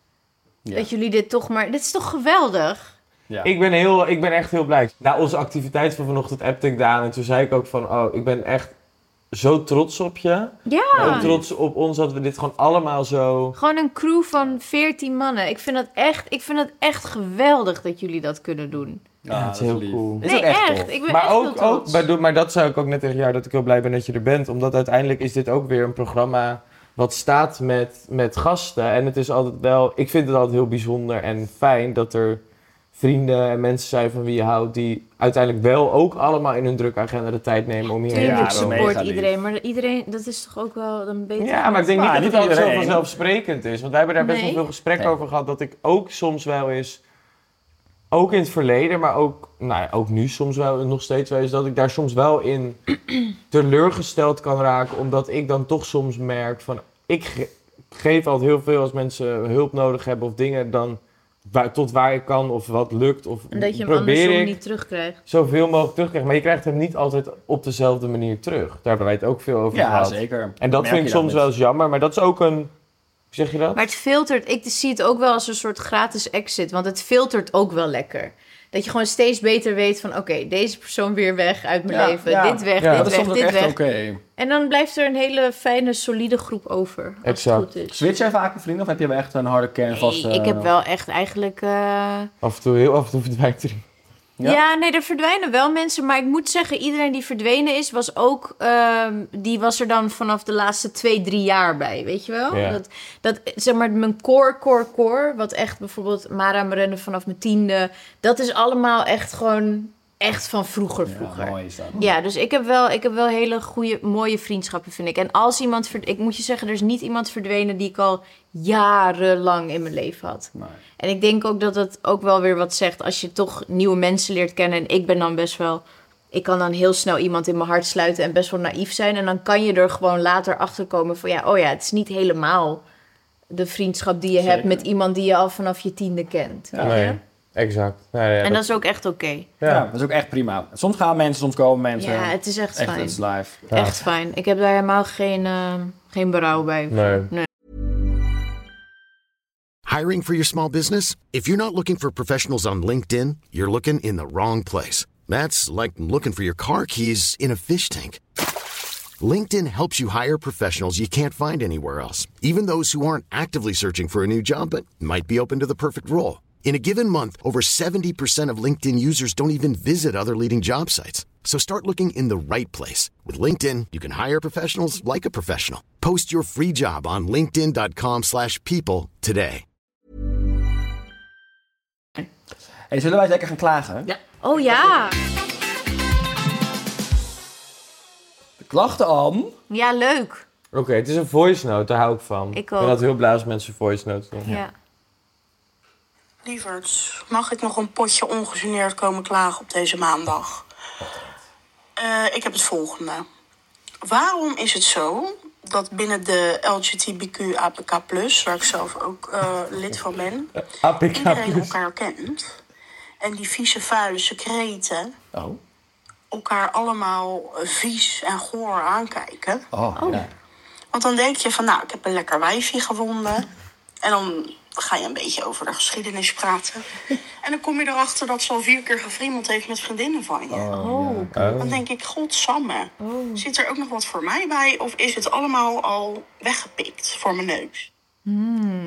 D: Ja.
C: Dat jullie dit toch maar. Dit is toch geweldig?
D: Ja.
B: Ik ben, heel, ik ben echt heel blij. Na onze activiteit van vanochtend appte ik Daan en toen zei ik ook van... Oh, ik ben echt zo trots op je. Ook
C: Ja.
B: trots op ons dat we dit gewoon allemaal zo...
C: Gewoon een crew van 14 mannen. Ik vind dat echt, ik vind dat echt geweldig dat jullie dat kunnen doen.
D: Ja,
B: het is heel
D: lief.
B: cool.
D: Is
C: nee,
D: ook echt,
C: echt.
D: tof.
C: Ik ben
B: Maar,
C: echt heel
B: ook, ook,
C: trots.
B: maar, maar dat zei ik ook net tegen jou, dat ik heel blij ben dat je er bent. Omdat uiteindelijk is dit ook weer een programma wat staat met, met gasten. En het is altijd wel... Ik vind het altijd heel bijzonder en fijn dat er vrienden en mensen zijn van wie je houdt... die uiteindelijk wel ook allemaal in hun drukagenda de tijd nemen om hierheen
D: Ja,
C: Tuurlijk
D: dat
B: te
D: is
B: komen.
D: mega
C: support
D: lief.
C: iedereen, maar iedereen, dat is toch ook wel een beetje...
B: Ja, maar ik denk niet
D: Maar
B: dat
D: niet
B: het altijd zo
D: iedereen.
B: vanzelfsprekend is. Want wij hebben daar best
C: Nee.
B: wel veel gesprek
D: Nee.
B: over gehad. Dat ik ook soms wel eens, ook in het verleden, maar ook, nou ja, ook nu soms wel nog steeds wel eens, dat ik daar soms wel in teleurgesteld kan raken. Omdat ik dan toch soms merk van, ik ge- geef altijd heel veel als mensen hulp nodig hebben of dingen dan waar- tot waar ik kan of wat lukt. Of
C: En dat je hem
B: probeer
C: andersom
B: ik
C: niet terugkrijgt.
B: zoveel mogelijk terugkrijgen. Maar je krijgt hem niet altijd op dezelfde manier terug. Daar hebben wij het ook veel over
D: Ja,
B: gehad.
D: zeker.
B: En dat
D: Merk
B: vind
D: je
B: ik soms
D: met-
B: wel eens jammer, maar dat is ook een. Hoe zeg je dat?
C: Maar het filtert, ik zie het ook wel als een soort gratis exit, want het filtert ook wel lekker. Dat je gewoon steeds beter weet van, oké, deze persoon weer weg uit mijn
D: Ja,
C: leven,
D: ja.
C: dit weg,
D: Ja,
B: Ja,
C: dit
D: dat is
C: weg,
D: soms ook
C: dit
D: echt
C: weg.
D: oké.
C: En dan blijft er een hele fijne, solide groep over, als
B: Exact.
C: het goed is.
D: Switch jij vaak met vrienden of heb je wel echt een harde kern vast?
C: Nee, ik heb wel echt eigenlijk... eh,
B: Af en toe, heel af en toe verdwijnt er iemand.
D: Ja?
C: Ja? nee, er verdwijnen wel mensen. Maar ik moet zeggen, iedereen die verdwenen is, was ook. ehm, die was er dan vanaf de laatste twee, drie jaar bij. Weet je wel?
B: Ja.
C: Dat, dat zeg maar, mijn core, core, core. Wat echt bijvoorbeeld Mara Marenne vanaf mijn tiende. Dat is allemaal echt gewoon. Echt van vroeger, vroeger.
D: Ja,
C: Ja,
D: mooi is dat.
C: dus ik heb, wel, ik heb wel hele goede, mooie vriendschappen, vind ik. En als iemand. verd- Ik moet je zeggen, er is niet iemand verdwenen die ik al jarenlang in mijn leven had.
D: Nee.
C: En ik denk ook dat dat ook wel weer wat zegt als je toch nieuwe mensen leert kennen. En ik ben dan best wel. Ik kan dan heel snel iemand in mijn hart sluiten en best wel naïef zijn. En dan kan je er gewoon later achter komen van ja, oh ja, het is niet helemaal de vriendschap die je
D: Zeker.
C: hebt met iemand die je al vanaf je tiende kent. weet je?
B: Nee, exact. Nou ja,
C: En
B: dat-
C: dat is ook echt oké.
D: Ja. dat is ook echt prima. Soms gaan mensen, soms komen mensen.
C: Ja, het is echt,
D: echt,
C: fijn.
D: het is live.
B: ja.
C: Echt fijn. Ik heb daar ehm, helemaal geen, eh, geen berouw bij.
B: Nee.
H: Hiring for your small business? If you're not looking for professionals on LinkedIn, you're looking in the wrong place. That's like looking for your car keys in a fish tank. LinkedIn helps you hire professionals you can't find anywhere else, even those who aren't actively searching for a new job but might be open to the perfect role. In a given month, over 70% of LinkedIn users don't even visit other leading job sites. So start looking in the right place. With LinkedIn, you can hire professionals like a professional. Post your free job on linkedin.com/people slash people today.
D: Hey, zullen wij eens lekker gaan klagen?
F: Ja.
C: Oh ja.
D: De klachten aan.
C: Ja, leuk.
B: Oké, het is een voice note, daar hou ik van.
C: Ik
B: ben
C: ook.
B: altijd heel blij als mensen voice notes doen.
C: Ja.
G: Lieverds, mag ik nog een potje ongegeneerd komen klagen op deze maandag? Eh, ik heb het volgende. Waarom is het zo dat binnen de LGBTQ APK+, waar ik zelf ook eh, lid van ben,
B: APK+.
G: iedereen elkaar kent en die vieze, vuile secreten
D: Oh.
G: elkaar allemaal vies en goor aankijken?
D: Oh, ja.
G: Want dan denk je van, nou, ik heb een lekker wijfje gewonnen. En dan ga je een beetje over de geschiedenis praten. En dan kom je erachter dat ze al vier keer gefriemeld heeft met vriendinnen van je. Dan denk ik, godsamme, zit er ook nog wat voor mij bij? Of is het allemaal al weggepikt voor mijn neus?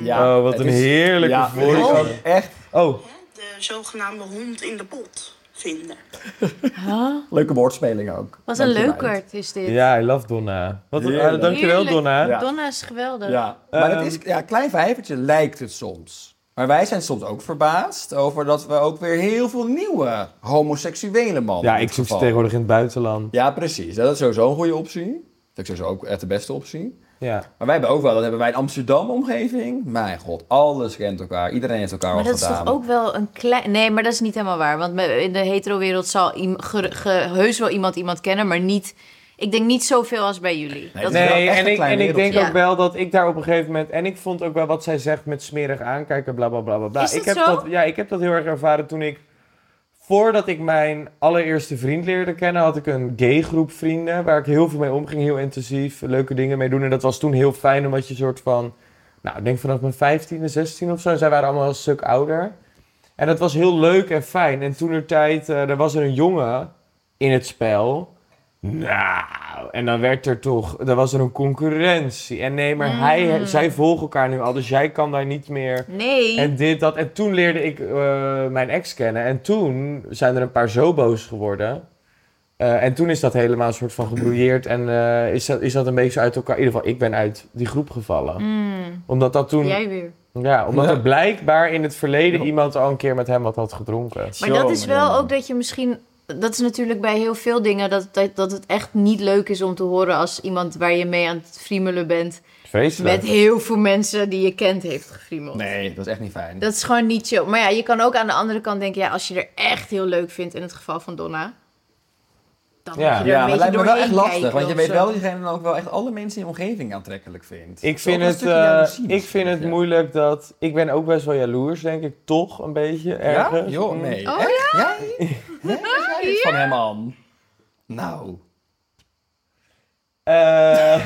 D: Ja,
B: Oh, wat
D: het
B: een heerlijke
D: ja,
B: voice.
D: het is Echt. Oh,
G: De zogenaamde hond in de pot vinden.
D: leuke woordspeling ook.
C: Wat een
D: Dankjewel.
C: leukert is dit.
B: Ja, I love Donna. Wat een,
D: Heerlijk.
B: ah, dankjewel
C: Heerlijk.
B: Donna.
D: Ja.
C: Donna is geweldig.
D: Ja, maar het is, ja, klein vijvertje lijkt het soms. Maar wij zijn soms ook verbaasd over dat we ook weer heel veel nieuwe homoseksuele mannen.
B: Ja,
D: in
B: ik
D: dit
B: zoek ze
D: geval.
B: tegenwoordig in het buitenland.
D: Ja, precies. Dat is sowieso een goede optie. Dat is sowieso ook echt de beste optie.
B: Ja.
D: Maar wij hebben ook wel, dat hebben wij in Amsterdam omgeving. Mijn god, alles kent elkaar. Iedereen heeft elkaar
C: Maar
D: al
C: dat is
D: gedaan.
C: toch ook wel een klein... Nee, maar dat is niet helemaal waar. Want me- in de hetero-wereld zal iem- ge- ge- heus wel iemand iemand kennen, maar niet... Ik denk niet zoveel als bij jullie.
D: Nee,
C: Dat
D: is wel
B: Nee,
D: echt
B: en
D: een
B: ik,
D: klein
B: en ik denk
C: wereldje.
B: ook wel dat ik daar op een gegeven moment... En ik vond ook wel wat zij zegt met smerig aankijken, bla bla bla bla, bla.
C: Is dat
B: ik heb
C: zo?
B: Dat, ja, ik heb dat heel erg ervaren toen ik... Voordat ik mijn allereerste vriend leerde kennen, had ik een gay groep vrienden. Waar ik heel veel mee omging, heel intensief, leuke dingen mee doen. En dat was toen heel fijn, omdat je soort van... Nou, ik denk vanaf mijn 15e, 16 of zo. En zij waren allemaal een stuk ouder. En dat was heel leuk en fijn. En toen er tijd, eh, er was er een jongen in het spel. Nou, en dan werd er toch, dan was er een concurrentie. En nee, maar hij, zij volgen elkaar nu al, dus jij kan daar niet meer.
C: Mm. Nee.
B: En dit, dat. En toen leerde ik eh, mijn ex kennen. En toen zijn er een paar zo boos geworden. Eh, en toen is dat helemaal een soort van gebrouilleerd. En eh, is, dat, is dat een beetje uit elkaar. In ieder geval, ik ben uit die groep gevallen. Omdat dat toen.
C: Mm. Jij weer.
B: Ja, omdat
D: Ja.
B: er blijkbaar in het verleden iemand al een keer met hem wat had gedronken.
C: Maar dat is wel ook dat je misschien... Dat is natuurlijk bij heel veel dingen dat, dat, dat het echt niet leuk is om te horen als iemand waar je mee aan het friemelen bent...
B: Vreselijk.
C: met heel veel mensen die je kent heeft gefriemeld.
D: Nee, dat is echt niet fijn.
C: Dat is gewoon niet chill. Maar ja, je kan ook aan de andere kant denken... ja, als je er echt heel leuk vindt, in het geval van Donna... dan
B: Ja.
C: moet je er
D: ja, maar
C: een beetje
D: lijkt me wel
C: doorheen
D: echt lastig.
C: kijken
D: Want je
C: of
D: weet
C: zo.
D: wel dat diegene dan ook wel echt alle mensen in je omgeving aantrekkelijk vindt.
B: Ik
D: Dat is ook
B: vind,
D: wel een
B: het,
D: stukje
B: eh,
D: jaloezie
B: ik
D: misschien,
B: vind het
D: ja.
B: moeilijk dat... Ik ben ook best wel jaloers, denk ik. Toch een beetje
D: Ja?
B: ergens. Mm.
D: Joh, nee.
C: Oh,
D: echt? Jij? Hè? Waar ga je dit van hem aan? Nou.
B: Eh,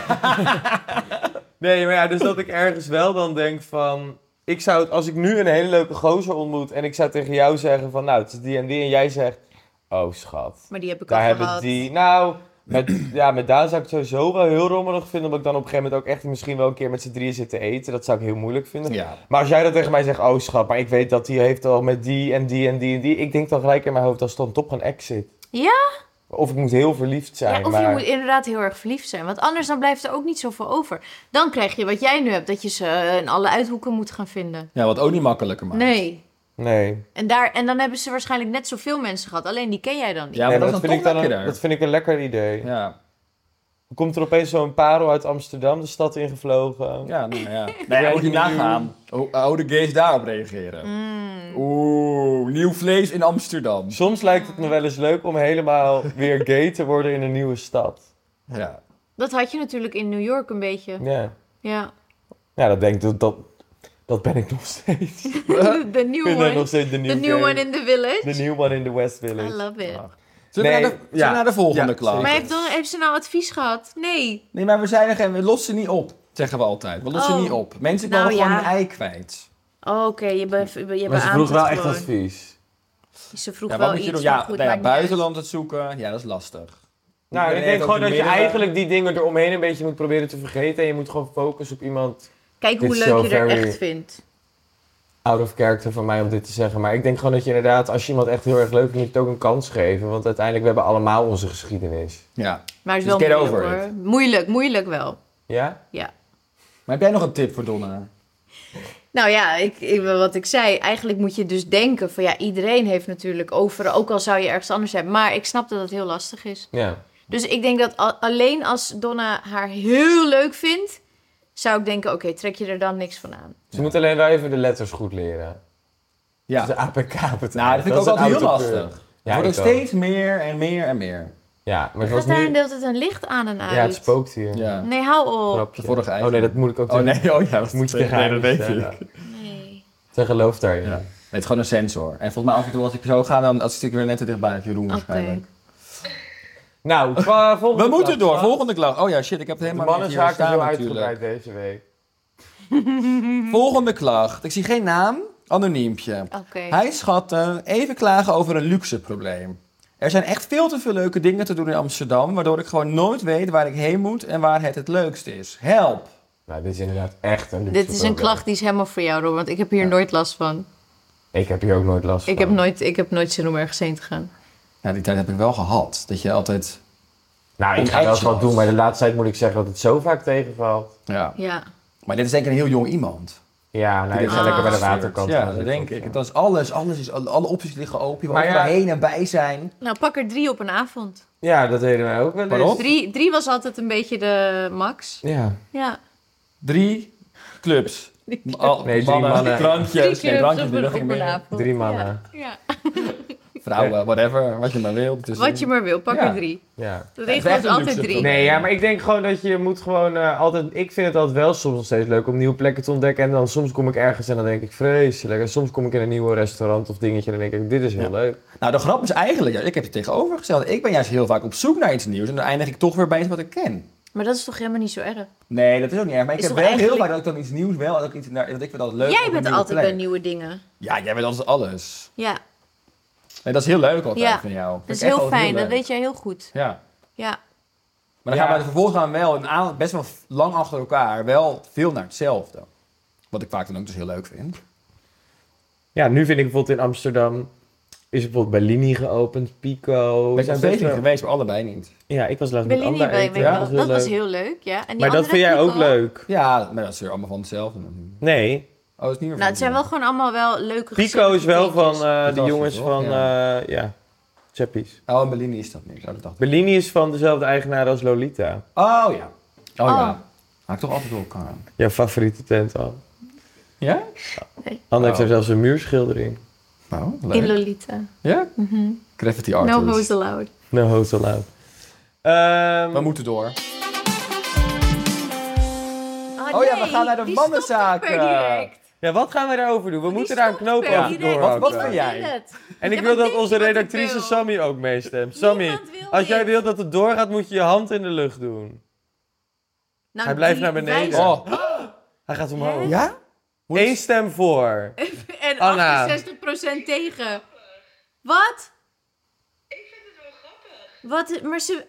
B: nee, maar ja, dus dat ik ergens wel dan denk van... Ik zou het, als ik nu een hele leuke gozer ontmoet en ik zou tegen jou zeggen van... Nou, het is die en die en jij zegt... Oh, schat.
C: Maar die heb ik
B: Daar
C: al
B: hebben
C: gehad.
B: die... Nou, met, ja, met Daan zou ik het sowieso wel heel rommelig vinden. Omdat ik dan op een gegeven moment ook echt misschien wel een keer met z'n drieën zit te eten. Dat zou ik heel moeilijk vinden.
D: Ja.
B: Maar als jij dat tegen mij zegt, oh schat, maar ik weet dat die heeft al met die en die en die en die. Ik denk dan gelijk in mijn hoofd, als dan toch een exit.
C: Ja,
B: Of ik moet heel verliefd zijn.
C: ja, of
B: maar...
C: je moet inderdaad heel erg verliefd zijn. Want anders dan blijft er ook niet zoveel over. Dan krijg je wat jij nu hebt, dat je ze eh, in alle uithoeken moet gaan vinden.
D: Ja, wat ook niet makkelijker maakt.
C: Nee.
B: Nee.
C: En, daar, en dan hebben ze waarschijnlijk net zoveel mensen gehad. Alleen die ken jij dan niet.
D: Ja, maar dat,
B: nee, maar
D: is dan
B: vind ik
D: toch
B: dan een, dat
D: lekkerder.
B: vind ik een lekker idee.
D: Ja.
B: Komt er opeens zo'n parel uit Amsterdam de stad ingevlogen?
D: Ja, nou ja. Nee, moet je nagaan hoe hoe de gays daarop reageren.
C: Mm.
D: Oeh, nieuw vlees in Amsterdam.
B: Soms lijkt het me wel eens leuk om helemaal weer gay te worden in een nieuwe stad.
D: Ja.
C: Dat had je natuurlijk in New York een beetje.
B: Ja,
C: Ja.
B: ja dat denk ik, dat, dat, dat ben ik nog steeds. Ik
C: De nieuwe
B: ben nog
C: one.
B: steeds de
C: The
B: nieuwe
C: new one in the village.
B: De nieuwe one in the West Village.
C: I love it.
D: Ah, Zullen we
B: Nee,
D: naar de, zullen we
B: ja.
D: naar de volgende
B: Ja,
D: klas?
B: zeker.
C: Maar heeft, dan, heeft ze nou advies gehad? Nee.
D: Nee, maar we zijn er geen, we lossen niet op, zeggen we altijd. We lossen
C: Oh.
D: niet op. Mensen
C: Nou
D: mogen gewoon
C: ja.
D: hun ei kwijt.
C: Oh, Oké, je bent
B: Maar
C: je beaamt
B: ze vroeg
C: het
B: wel echt
C: gewoon.
B: advies.
C: Ze vroeg
D: Ja, wat
C: wel
D: moet je
C: iets,
D: doen?
C: maar
D: Ja,
C: goed,
D: nou ja,
C: maakt niet uit.
D: buitenland het zoeken. Ja, dat is lastig.
B: Nou, ik
D: iedereen
B: denk
D: heeft ook
B: gewoon
D: de
B: dat je
D: middelen.
B: eigenlijk die dingen eromheen een beetje moet proberen te vergeten. En je moet gewoon focussen op iemand
C: Kijk
B: Dit
C: hoe
B: is
C: leuk je
B: zo
C: er
B: very-
C: echt vindt.
B: out of character van mij om dit te zeggen. Maar ik denk gewoon dat je inderdaad, als je iemand echt heel erg leuk vindt, moet je het ook een kans geven. Want uiteindelijk, we hebben allemaal onze geschiedenis.
D: Ja.
C: Maar het is
D: Just
C: wel
D: get
C: moeilijk
D: over
C: hoor. Moeilijk, moeilijk wel.
B: Ja?
C: Ja.
D: Maar heb jij nog een tip voor Donna?
C: Nou ja, ik, ik- wat ik zei, eigenlijk moet je dus denken van ja, iedereen heeft natuurlijk over, ook al zou je ergens anders hebben. Maar ik snap dat dat heel lastig is.
B: Ja.
C: Dus ik denk dat al- alleen als Donna haar heel leuk vindt, zou ik denken, oké, trek je er dan niks van aan.
B: Ze moet alleen wel even de letters goed leren.
D: Ja.
B: De APK betaald.
D: Nou, dat vind ik ook altijd heel lastig.
B: Ja,
D: het wordt
B: ik
D: ook
B: ook.
D: steeds meer en meer en meer.
B: Ja, maar het was
C: Gaat daar
B: nu...
C: een deelt het een licht aan en uit?
B: Ja, het spookt hier.
D: Ja.
C: Nee, hou op.
B: Grapje.
D: De vorige
B: Oh nee,
D: eigen.
B: dat moet ik ook
D: Oh
B: doen.
D: nee, oh ja, dat
B: Moet je tegen
D: nee,
B: haar
D: dat weet ik.
B: vertellen.
D: Nee,
C: Nee.
B: Zij gelooft daarin.
D: Ja. het is gewoon een sensor. En volgens mij af en toe als ik zo ga, dan als ik weer net te dichtbij heb, Jeroen waarschijnlijk.
B: Nou, twa- volgende
D: We moeten
B: klas.
D: door, volgende klas. Oh ja, shit, ik heb het
B: De
D: helemaal niet hier
B: mannenzaak is
D: staan
B: heel
D: natuurlijk.
B: uitgebreid deze week.
D: Volgende klacht. Ik zie geen naam, anoniempje.
C: Oké.
D: Hij schatten, even klagen over een luxe probleem. Er zijn echt veel te veel leuke dingen te doen in Amsterdam, waardoor ik gewoon nooit weet waar ik heen moet en waar het het leukst is. Help!
B: Nou, dit is inderdaad echt een luxe
C: Dit is een
B: probleem.
C: klacht die is helemaal voor jou, Rob, want ik heb hier nooit last van.
B: Ik heb hier ook nooit last van.
C: Ik heb, nooit, ik heb nooit zin om ergens heen te gaan.
D: Ja, Nou, die tijd heb ik wel gehad. Dat je altijd.
B: Nou, ik ga wel eens
D: Onactionals.
B: wat doen, maar de laatste tijd moet ik zeggen dat het zo vaak tegenvalt.
D: Ja.
C: Ja.
D: Maar dit is denk ik een heel jong iemand.
B: Ja, nou, ik ga
D: Ah.
B: lekker bij de waterkant gaan
D: Ja, dat
B: zitten.
D: denk ik. Dat is alles, alles is, alle opties liggen open. Je wil
B: Maar
D: overal
B: ja.
D: heen en bij zijn.
C: Nou, pak er drie op een avond.
B: Ja, dat deden wij ook wel eens.
D: Waarom?
C: Drie, drie was altijd een beetje de max.
B: Ja.
C: Ja.
D: Drie clubs. Al-
B: Nee, drie mannen.
D: Drankjes.
C: Drie
D: dus nee,
C: keer op
D: drankjes. nee,
C: zo'n
D: dat ging
C: op een
D: meer.
C: avond.
B: Drie mannen.
C: Ja. Ja.
D: Vrouwen, whatever. Wat je maar wilt. Dus
C: Wat je maar wil, pak
D: Ja.
C: er drie.
B: Ja.
C: De
D: is
C: regel
D: echt
C: is
D: een
C: altijd
D: luxe
C: drie.
D: probleem.
B: Nee, ja, maar ik denk gewoon dat je moet gewoon eh, altijd... Ik vind het altijd wel soms nog steeds leuk om nieuwe plekken te ontdekken. En dan soms kom ik ergens en dan denk ik vreselijk. En soms kom ik in een nieuw restaurant of dingetje en dan denk ik, dit is heel leuk.
D: Nou, de grap is eigenlijk, ja, ik heb het tegenovergesteld. Ik ben juist heel vaak op zoek naar iets nieuws en dan eindig ik toch weer bij iets wat ik ken.
C: Maar dat is toch helemaal niet zo erg?
D: Nee, dat is ook niet erg. Maar ik
C: Is
D: heb
C: toch
D: wel heel
C: eigenlijk-
D: vaak dat ik dan iets nieuws wel en ook iets naar, dat ik vind dat leuk. op
C: Jij
D: een
C: bent
D: nieuwe
C: altijd
D: plek.
C: bij nieuwe dingen.
D: Ja, jij bent altijd alles.
C: Ja,
D: Nee, dat is heel leuk altijd
C: Ja,
D: van jou. Vind
C: dat is
D: ik echt
C: heel
D: altijd
C: fijn. dat
D: leuk.
C: weet jij heel goed.
D: Ja.
C: Ja.
D: Maar dan
B: Ja.
D: gaan we vervolgens gaan we wel een aan- best wel lang achter elkaar wel veel naar hetzelfde. Wat ik vaak dan ook dus heel leuk vind.
B: Ja, nu vind ik bijvoorbeeld in Amsterdam... Is er bijvoorbeeld Bellini geopend, Pico.
D: We zijn
B: Zijn
D: best
B: best
D: niet
B: wel-
D: geweest, maar allebei niet.
B: Ja, ik was laatst met
C: Bellini
B: Anna
C: bij
B: eten.
C: weet
B: Ja,
C: ik wel.
B: heel
C: Dat was
B: leuk.
C: heel leuk, ja. En die
B: Maar dat
C: andere
B: vind jij
C: heb je
B: ook leuk?
D: Ja, maar dat is weer allemaal van hetzelfde. natuurlijk.
B: Nee.
D: Oh, dat is niet meer van
C: Nou, het zijn wel gewoon allemaal wel leuke
B: Pico is wel van
C: gezellige
B: eh, de
D: Fantastisch,
B: jongens
D: hoor.
B: van...
D: Ja.
B: eh, ja, Chappies.
D: Oh, en Bellini is dat niet. Oh, dat dacht ik.
B: Bellini is van dezelfde eigenaar als Lolita.
D: Oh ja. Oh,
C: Oh.
D: ja. Haak toch altijd door elkaar.
B: Jouw favoriete tent al.
D: Ja?
B: Anne
D: heeft
B: heeft
D: daar
B: er zelfs een muurschildering.
D: Nou,
C: dingen.
D: leuk.
B: eh,
C: In Mhm. Lolita.
B: Oh,
D: Ja? Graffiti artist.
C: No hoes allowed.
B: No hotel out. Ehm,
D: We moeten door.
C: Ah,
D: Oh ja, we
C: nee,
D: gaan naar de
C: die
D: wandenzaak,
C: stopt er
D: eh.
C: direct.
B: ja, wat gaan we daarover doen? We moeten daar een
C: stopt
B: knoop
C: per
B: over
C: direct.
B: doorhakken.
D: Wat- wat- ben
C: Ik
D: jij?
C: wil het.
B: eh. En ik
C: Ja,
B: wil
C: maar
B: dat onze
C: dit is wat ik
B: redactrice
C: wil.
B: Sammy ook meestemt. Sammy,
C: Niemand wil
B: als jij
C: dit.
B: wilt dat het doorgaat, moet je je hand in de lucht doen.
C: Nou,
B: Hij blijft
C: die
B: naar beneden.
C: wijzen-
D: Oh,
B: Hij gaat omhoog.
D: ja?
B: Eén stem voor.
C: En
B: Anna.
C: 68% tegen. Wat? Ik vind het wel grappig. Wat? Maar ze...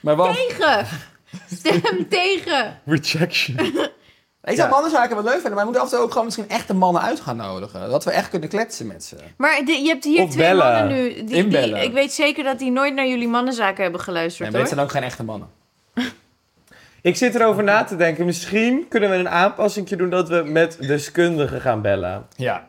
D: Maar
B: Oh.
D: wat?
C: Tegen! Stem tegen!
B: Rejection.
D: Ik zou mannenzaken wel leuk vinden, maar we moeten af en toe ook gewoon misschien echte mannen uit gaan nodigen. Dat we echt kunnen kletsen met ze.
C: Maar de- je hebt hier
B: Of
C: twee
B: bellen.
C: mannen nu. Die, die-
D: Inbellen.
C: ik weet zeker dat die nooit naar jullie mannenzaken hebben
D: Nee,
C: geluisterd,
D: maar dit
C: hoor.
D: zijn ook geen echte mannen.
B: Ik zit erover na te denken. Misschien kunnen we een aanpassing doen dat we met deskundigen gaan bellen.
D: Ja.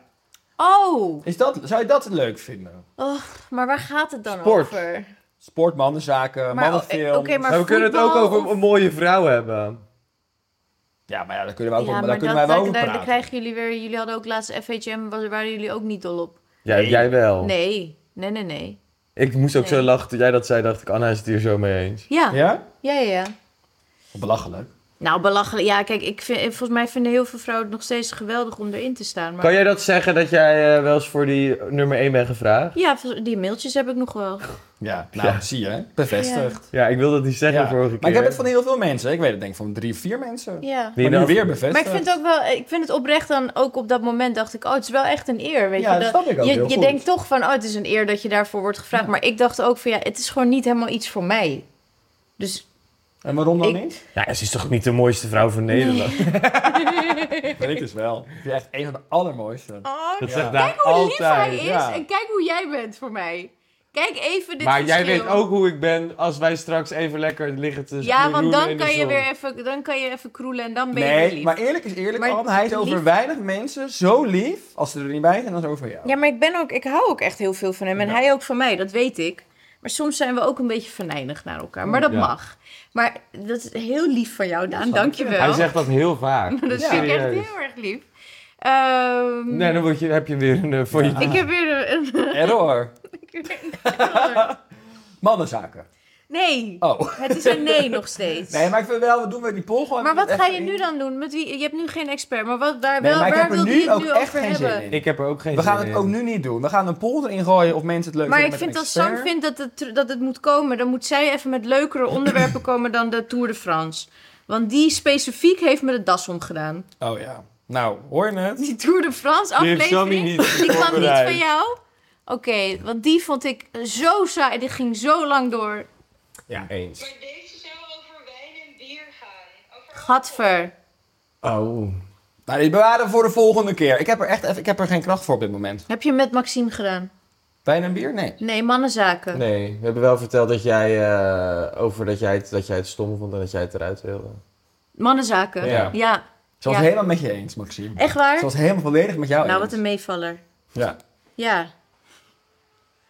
C: Oh!
D: Is dat, zou je dat leuk vinden?
C: Och, maar waar gaat het dan
B: Sport.
C: over?
D: Sport, mannenzaken,
C: Maar,
D: mannenfilm.
C: eh, oké, maar-
B: Maar we kunnen het ook
C: voetbal
B: over
C: of-
B: een mooie vrouw hebben.
D: Ja, maar ja, daar kunnen we ook
C: ja,
D: maar
C: maar
D: daar kunnen
C: dat,
D: wij wel
C: daar,
D: over
C: daar- daar
D: praten.
C: krijgen jullie weer... Jullie hadden ook laatst FHM, waar- waren jullie ook niet dol op.
B: Ja, jij
D: Oh.
B: wel.
C: Nee, nee, nee, nee.
B: Ik moest ook
C: Nee.
B: zo lachen toen jij dat zei, dacht ik, Anna is het hier zo mee eens.
C: Ja, ja,
D: Ja?
C: ja, ja.
D: Belachelijk.
C: Nou, belachelijk. Ja, kijk, ik vind, volgens mij vinden heel veel vrouwen het nog steeds geweldig om erin te staan. Maar...
B: Kan jij dat zeggen dat jij eh, wel eens voor die nummer 1 bent gevraagd?
C: Ja, die mailtjes heb ik nog wel.
D: Ja, nou,
B: Ja.
D: zie je. Bevestigd.
B: Ja, ik wilde dat niet zeggen
D: Ja.
B: vorige keer.
D: Maar ik heb het van heel veel mensen. Ik weet het denk ik van drie, vier mensen.
C: Ja.
B: Die
D: Maar nu
B: dat-
D: weer bevestigd.
C: Maar
B: Eh,
C: ik vind, ook wel, ik vind het oprecht dan ook op dat moment dacht ik, oh, het is wel echt een eer. Weet
D: Ja,
C: je,
D: dat snap ik ook
C: je,
D: heel
C: je
D: goed.
C: denkt toch van, oh, het is een eer dat je daarvoor wordt gevraagd. Maar ik dacht ook van, ja, het is gewoon niet helemaal iets voor mij. Dus
D: En waarom dan
C: Ik-
D: niet?
B: Ja, ze is toch niet de mooiste vrouw van Nederland?
D: Weet is dus wel. Je bent echt een van de allermooiste.
C: oh,
B: Dat
D: Ja.
B: zegt daar
C: kijk hoe lief hij
B: altijd.
C: is
D: ja.
C: en kijk hoe jij bent voor mij. Kijk even dit
B: Maar jij
C: verschil.
B: weet ook hoe ik ben als wij straks even lekker liggen te
C: Ja, want
B: roeren in
C: dan
B: de
C: kan, je
B: zon.
C: weer even, dan kan je even kroelen en dan ben je weer
D: Nee,
C: lief.
D: maar eerlijk is eerlijk,
C: Maar
D: Anne. Hij is over
C: lief-
D: weinig mensen zo lief. Als ze er niet bij zijn, dan is het over jou.
C: Ja, maar ik, ben ook, ik hou ook echt heel veel van hem. En hij ook van mij, dat weet ik. Maar soms zijn we ook een beetje venijnig naar elkaar. Maar dat
B: Ja.
C: mag. Maar dat is heel lief van jou, Daan.
D: snap
C: Dank
D: ik.
C: je wel.
B: Hij zegt dat heel vaak.
C: dat
B: Ja.
C: vind ik echt
B: Serieus.
C: heel erg lief. Ehm,
B: Nee, dan word je, heb je weer een eh, voor je.
C: Ik heb weer een...
D: Error.
C: ik heb weer een-
D: Mannenzaken.
C: nee,
D: Oh.
C: het is een nee nog steeds.
D: Nee, maar ik vind wel, we doen weer die poll gewoon.
C: maar wat
D: even
C: ga je
D: in.
C: nu dan doen? Met wie, je hebt nu geen expert, maar wat, daar,
D: Nee,
C: wel,
D: maar ik
C: waar
D: heb er
C: wilde
D: nu
C: je het
D: ook
C: nu
D: echt
C: over
D: geen zin
C: hebben?
D: in.
B: Ik heb er ook geen
D: We
B: zin
D: gaan het
B: in.
D: ook nu niet doen. We gaan een poll erin gooien of mensen het leuk
C: Maar ik
D: vinden
C: vind
D: met een
C: dat Sam
D: expert.
C: vindt dat het, dat het moet komen, dan moet zij even met leukere onderwerpen komen dan de Tour de France. Want die specifiek heeft me de das omgedaan.
D: Oh ja. Nou, hoor je het?
C: Die Tour de France
B: Die heeft Sammy
C: aflevering,
B: niet
C: die kwam niet
B: voorbereid.
C: van jou. Oké, want die vond ik zo saai. Die ging zo lang door.
B: Ja, eens.
I: Maar deze zou over wijn en bier gaan. Over
C: Gadver.
B: Oh.
D: Nou, die bewaren we voor de volgende keer. Ik heb er echt even, ik heb er geen kracht voor op dit moment.
C: Heb je met Maxime gedaan?
D: Wijn en bier? Nee.
C: Nee, mannenzaken.
B: Nee, we hebben wel verteld dat jij, eh, over dat jij, het, dat jij het stom vond en dat jij het eruit wilde.
C: Mannenzaken.
B: Ja.
C: Ja.
D: Ze was
C: Ja.
D: helemaal met je eens, Maxime.
C: Echt waar?
D: Ze was helemaal volledig met jou
C: Nou,
D: eens.
C: wat een meevaller.
D: Ja.
C: Ja.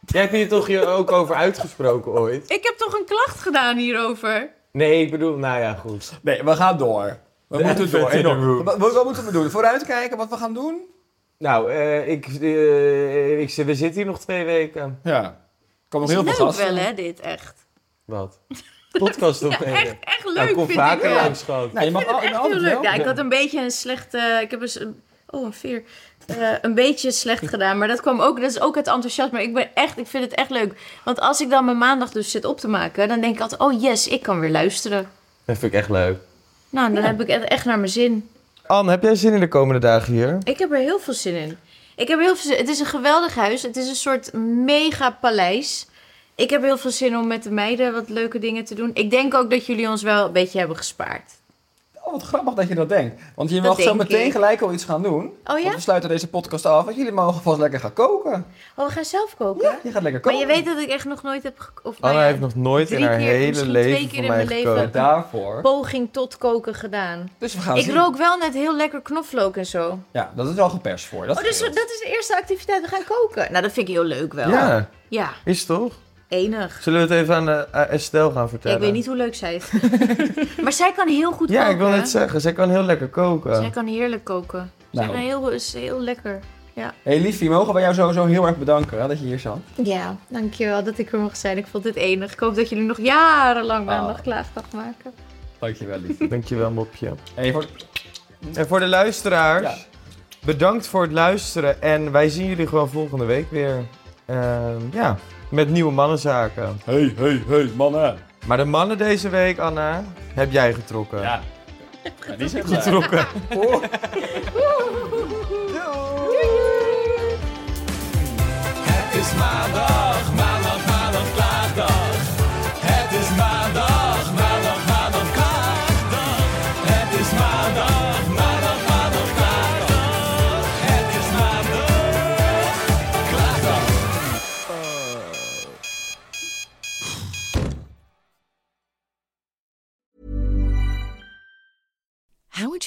B: Jij hebt hier toch je ook over uitgesproken ooit?
C: Ik heb toch een klacht gedaan hierover?
B: Nee, ik bedoel, nou ja, goed.
D: Nee, we gaan door. We
B: De
D: moeten door.
B: elephant in the room.
D: Wat, wat- wat moeten we doen? Vooruitkijken wat we gaan doen?
B: Nou, eh, ik, eh, ik, zit- we zitten hier nog twee weken.
D: Ja. Er komen nog heel
C: Leuk
D: veel gasten.
C: wel, hè, dit. Echt.
B: Wat? Podcast opnemen.
C: Echt, echt leuk,
B: nou, kom
C: vind ik.
B: vaker
C: Ja.
B: langs, schat.
D: Nou, je mag al,
C: Echt heel
D: altijd
C: leuk.
D: wel.
C: Ja, ik had een beetje een slecht... eh, ik heb eens... een- oh, een veer. Eh, een beetje slecht gedaan. Maar dat kwam ook... Dat is ook het enthousiasme. Ik ben echt... Ik vind het echt leuk. Want als ik dan mijn maandag dus zit op te maken... Dan denk ik altijd... Oh, yes, ik kan weer luisteren.
B: Dat vind ik echt leuk.
C: Nou, dan heb ik het echt naar mijn zin.
B: Anne, heb jij zin in de komende dagen hier?
C: Ik heb er heel veel zin in. Ik heb er heel veel zin. Het is een geweldig huis. Het is een soort mega paleis. Ik heb heel veel zin om met de meiden wat leuke dingen te doen. Ik denk ook dat jullie ons wel een beetje hebben gespaard.
D: Oh, wat grappig dat je dat denkt. Want je
C: Dat
D: mag zo
C: denk
D: meteen
C: ik.
D: gelijk al iets gaan doen.
C: Oh
D: Want
C: ja?
D: we sluiten deze podcast af. Want jullie mogen vast lekker gaan koken.
C: Oh, we gaan zelf koken.
D: Ja, je gaat lekker
C: Maar
D: koken.
C: je weet dat ik echt nog nooit heb gek- of nou
B: Anne
C: ja,
B: Oh, heeft nog nooit
C: drie
B: in haar
C: keer,
B: hele
C: misschien twee
B: leven
C: keer
B: voor
C: in
B: mij
C: mijn leven.
B: gekookt.
D: Ja, daarvoor.
C: poging tot koken gedaan.
D: Dus we
B: Nou,
D: gaan
C: Ik
D: zien.
C: rook wel net heel lekker knoflook en zo.
D: Ja, dat is wel geperst voor. Dat
C: Oh, dus
D: scheelt.
C: dat is de eerste activiteit. We gaan koken. Nou, dat vind ik heel leuk wel.
B: Ja,
C: Ja,
B: is toch?
C: enig.
B: Zullen we het even aan eh, aan Estelle gaan
C: Ja,
B: vertellen?
C: ik weet niet hoe leuk zij het Maar zij kan heel goed
B: Ja,
C: koken.
B: ik wil net zeggen, zij kan heel lekker
C: Zij
B: koken.
C: kan heerlijk koken. Zij
D: Nou.
C: kan heel, is heel lekker.
D: hey, liefie, mogen wij jou sowieso heel erg bedanken hè, dat je hier zat.
C: Ja, dankjewel dat ik er mag zijn. Ik vond dit enig. Ik hoop dat jullie nog
B: Oh.
C: jarenlang maandag
D: Ah.
C: klaagdag maken.
D: Dankjewel, liefie.
B: Dankjewel, mopje.
D: hey, voor...
B: En voor de luisteraars,
D: Ja.
B: bedankt voor het luisteren. En wij zien jullie gewoon volgende week weer. Ehm, ja, met nieuwe mannenzaken.
D: hey, hey, hey, mannen.
B: Maar de mannen deze week, Anna, heb jij getrokken.
D: Ja. Ja, die zijn klaar.
B: Getrokken.
A: Het is maandag, maandag, maandag, klaagdag. Het is maandag, maandag, maandag, klaagdag. Het is maandag, maandag, maandag, klaagdag. Het is maandag, klaagdag.
J: How would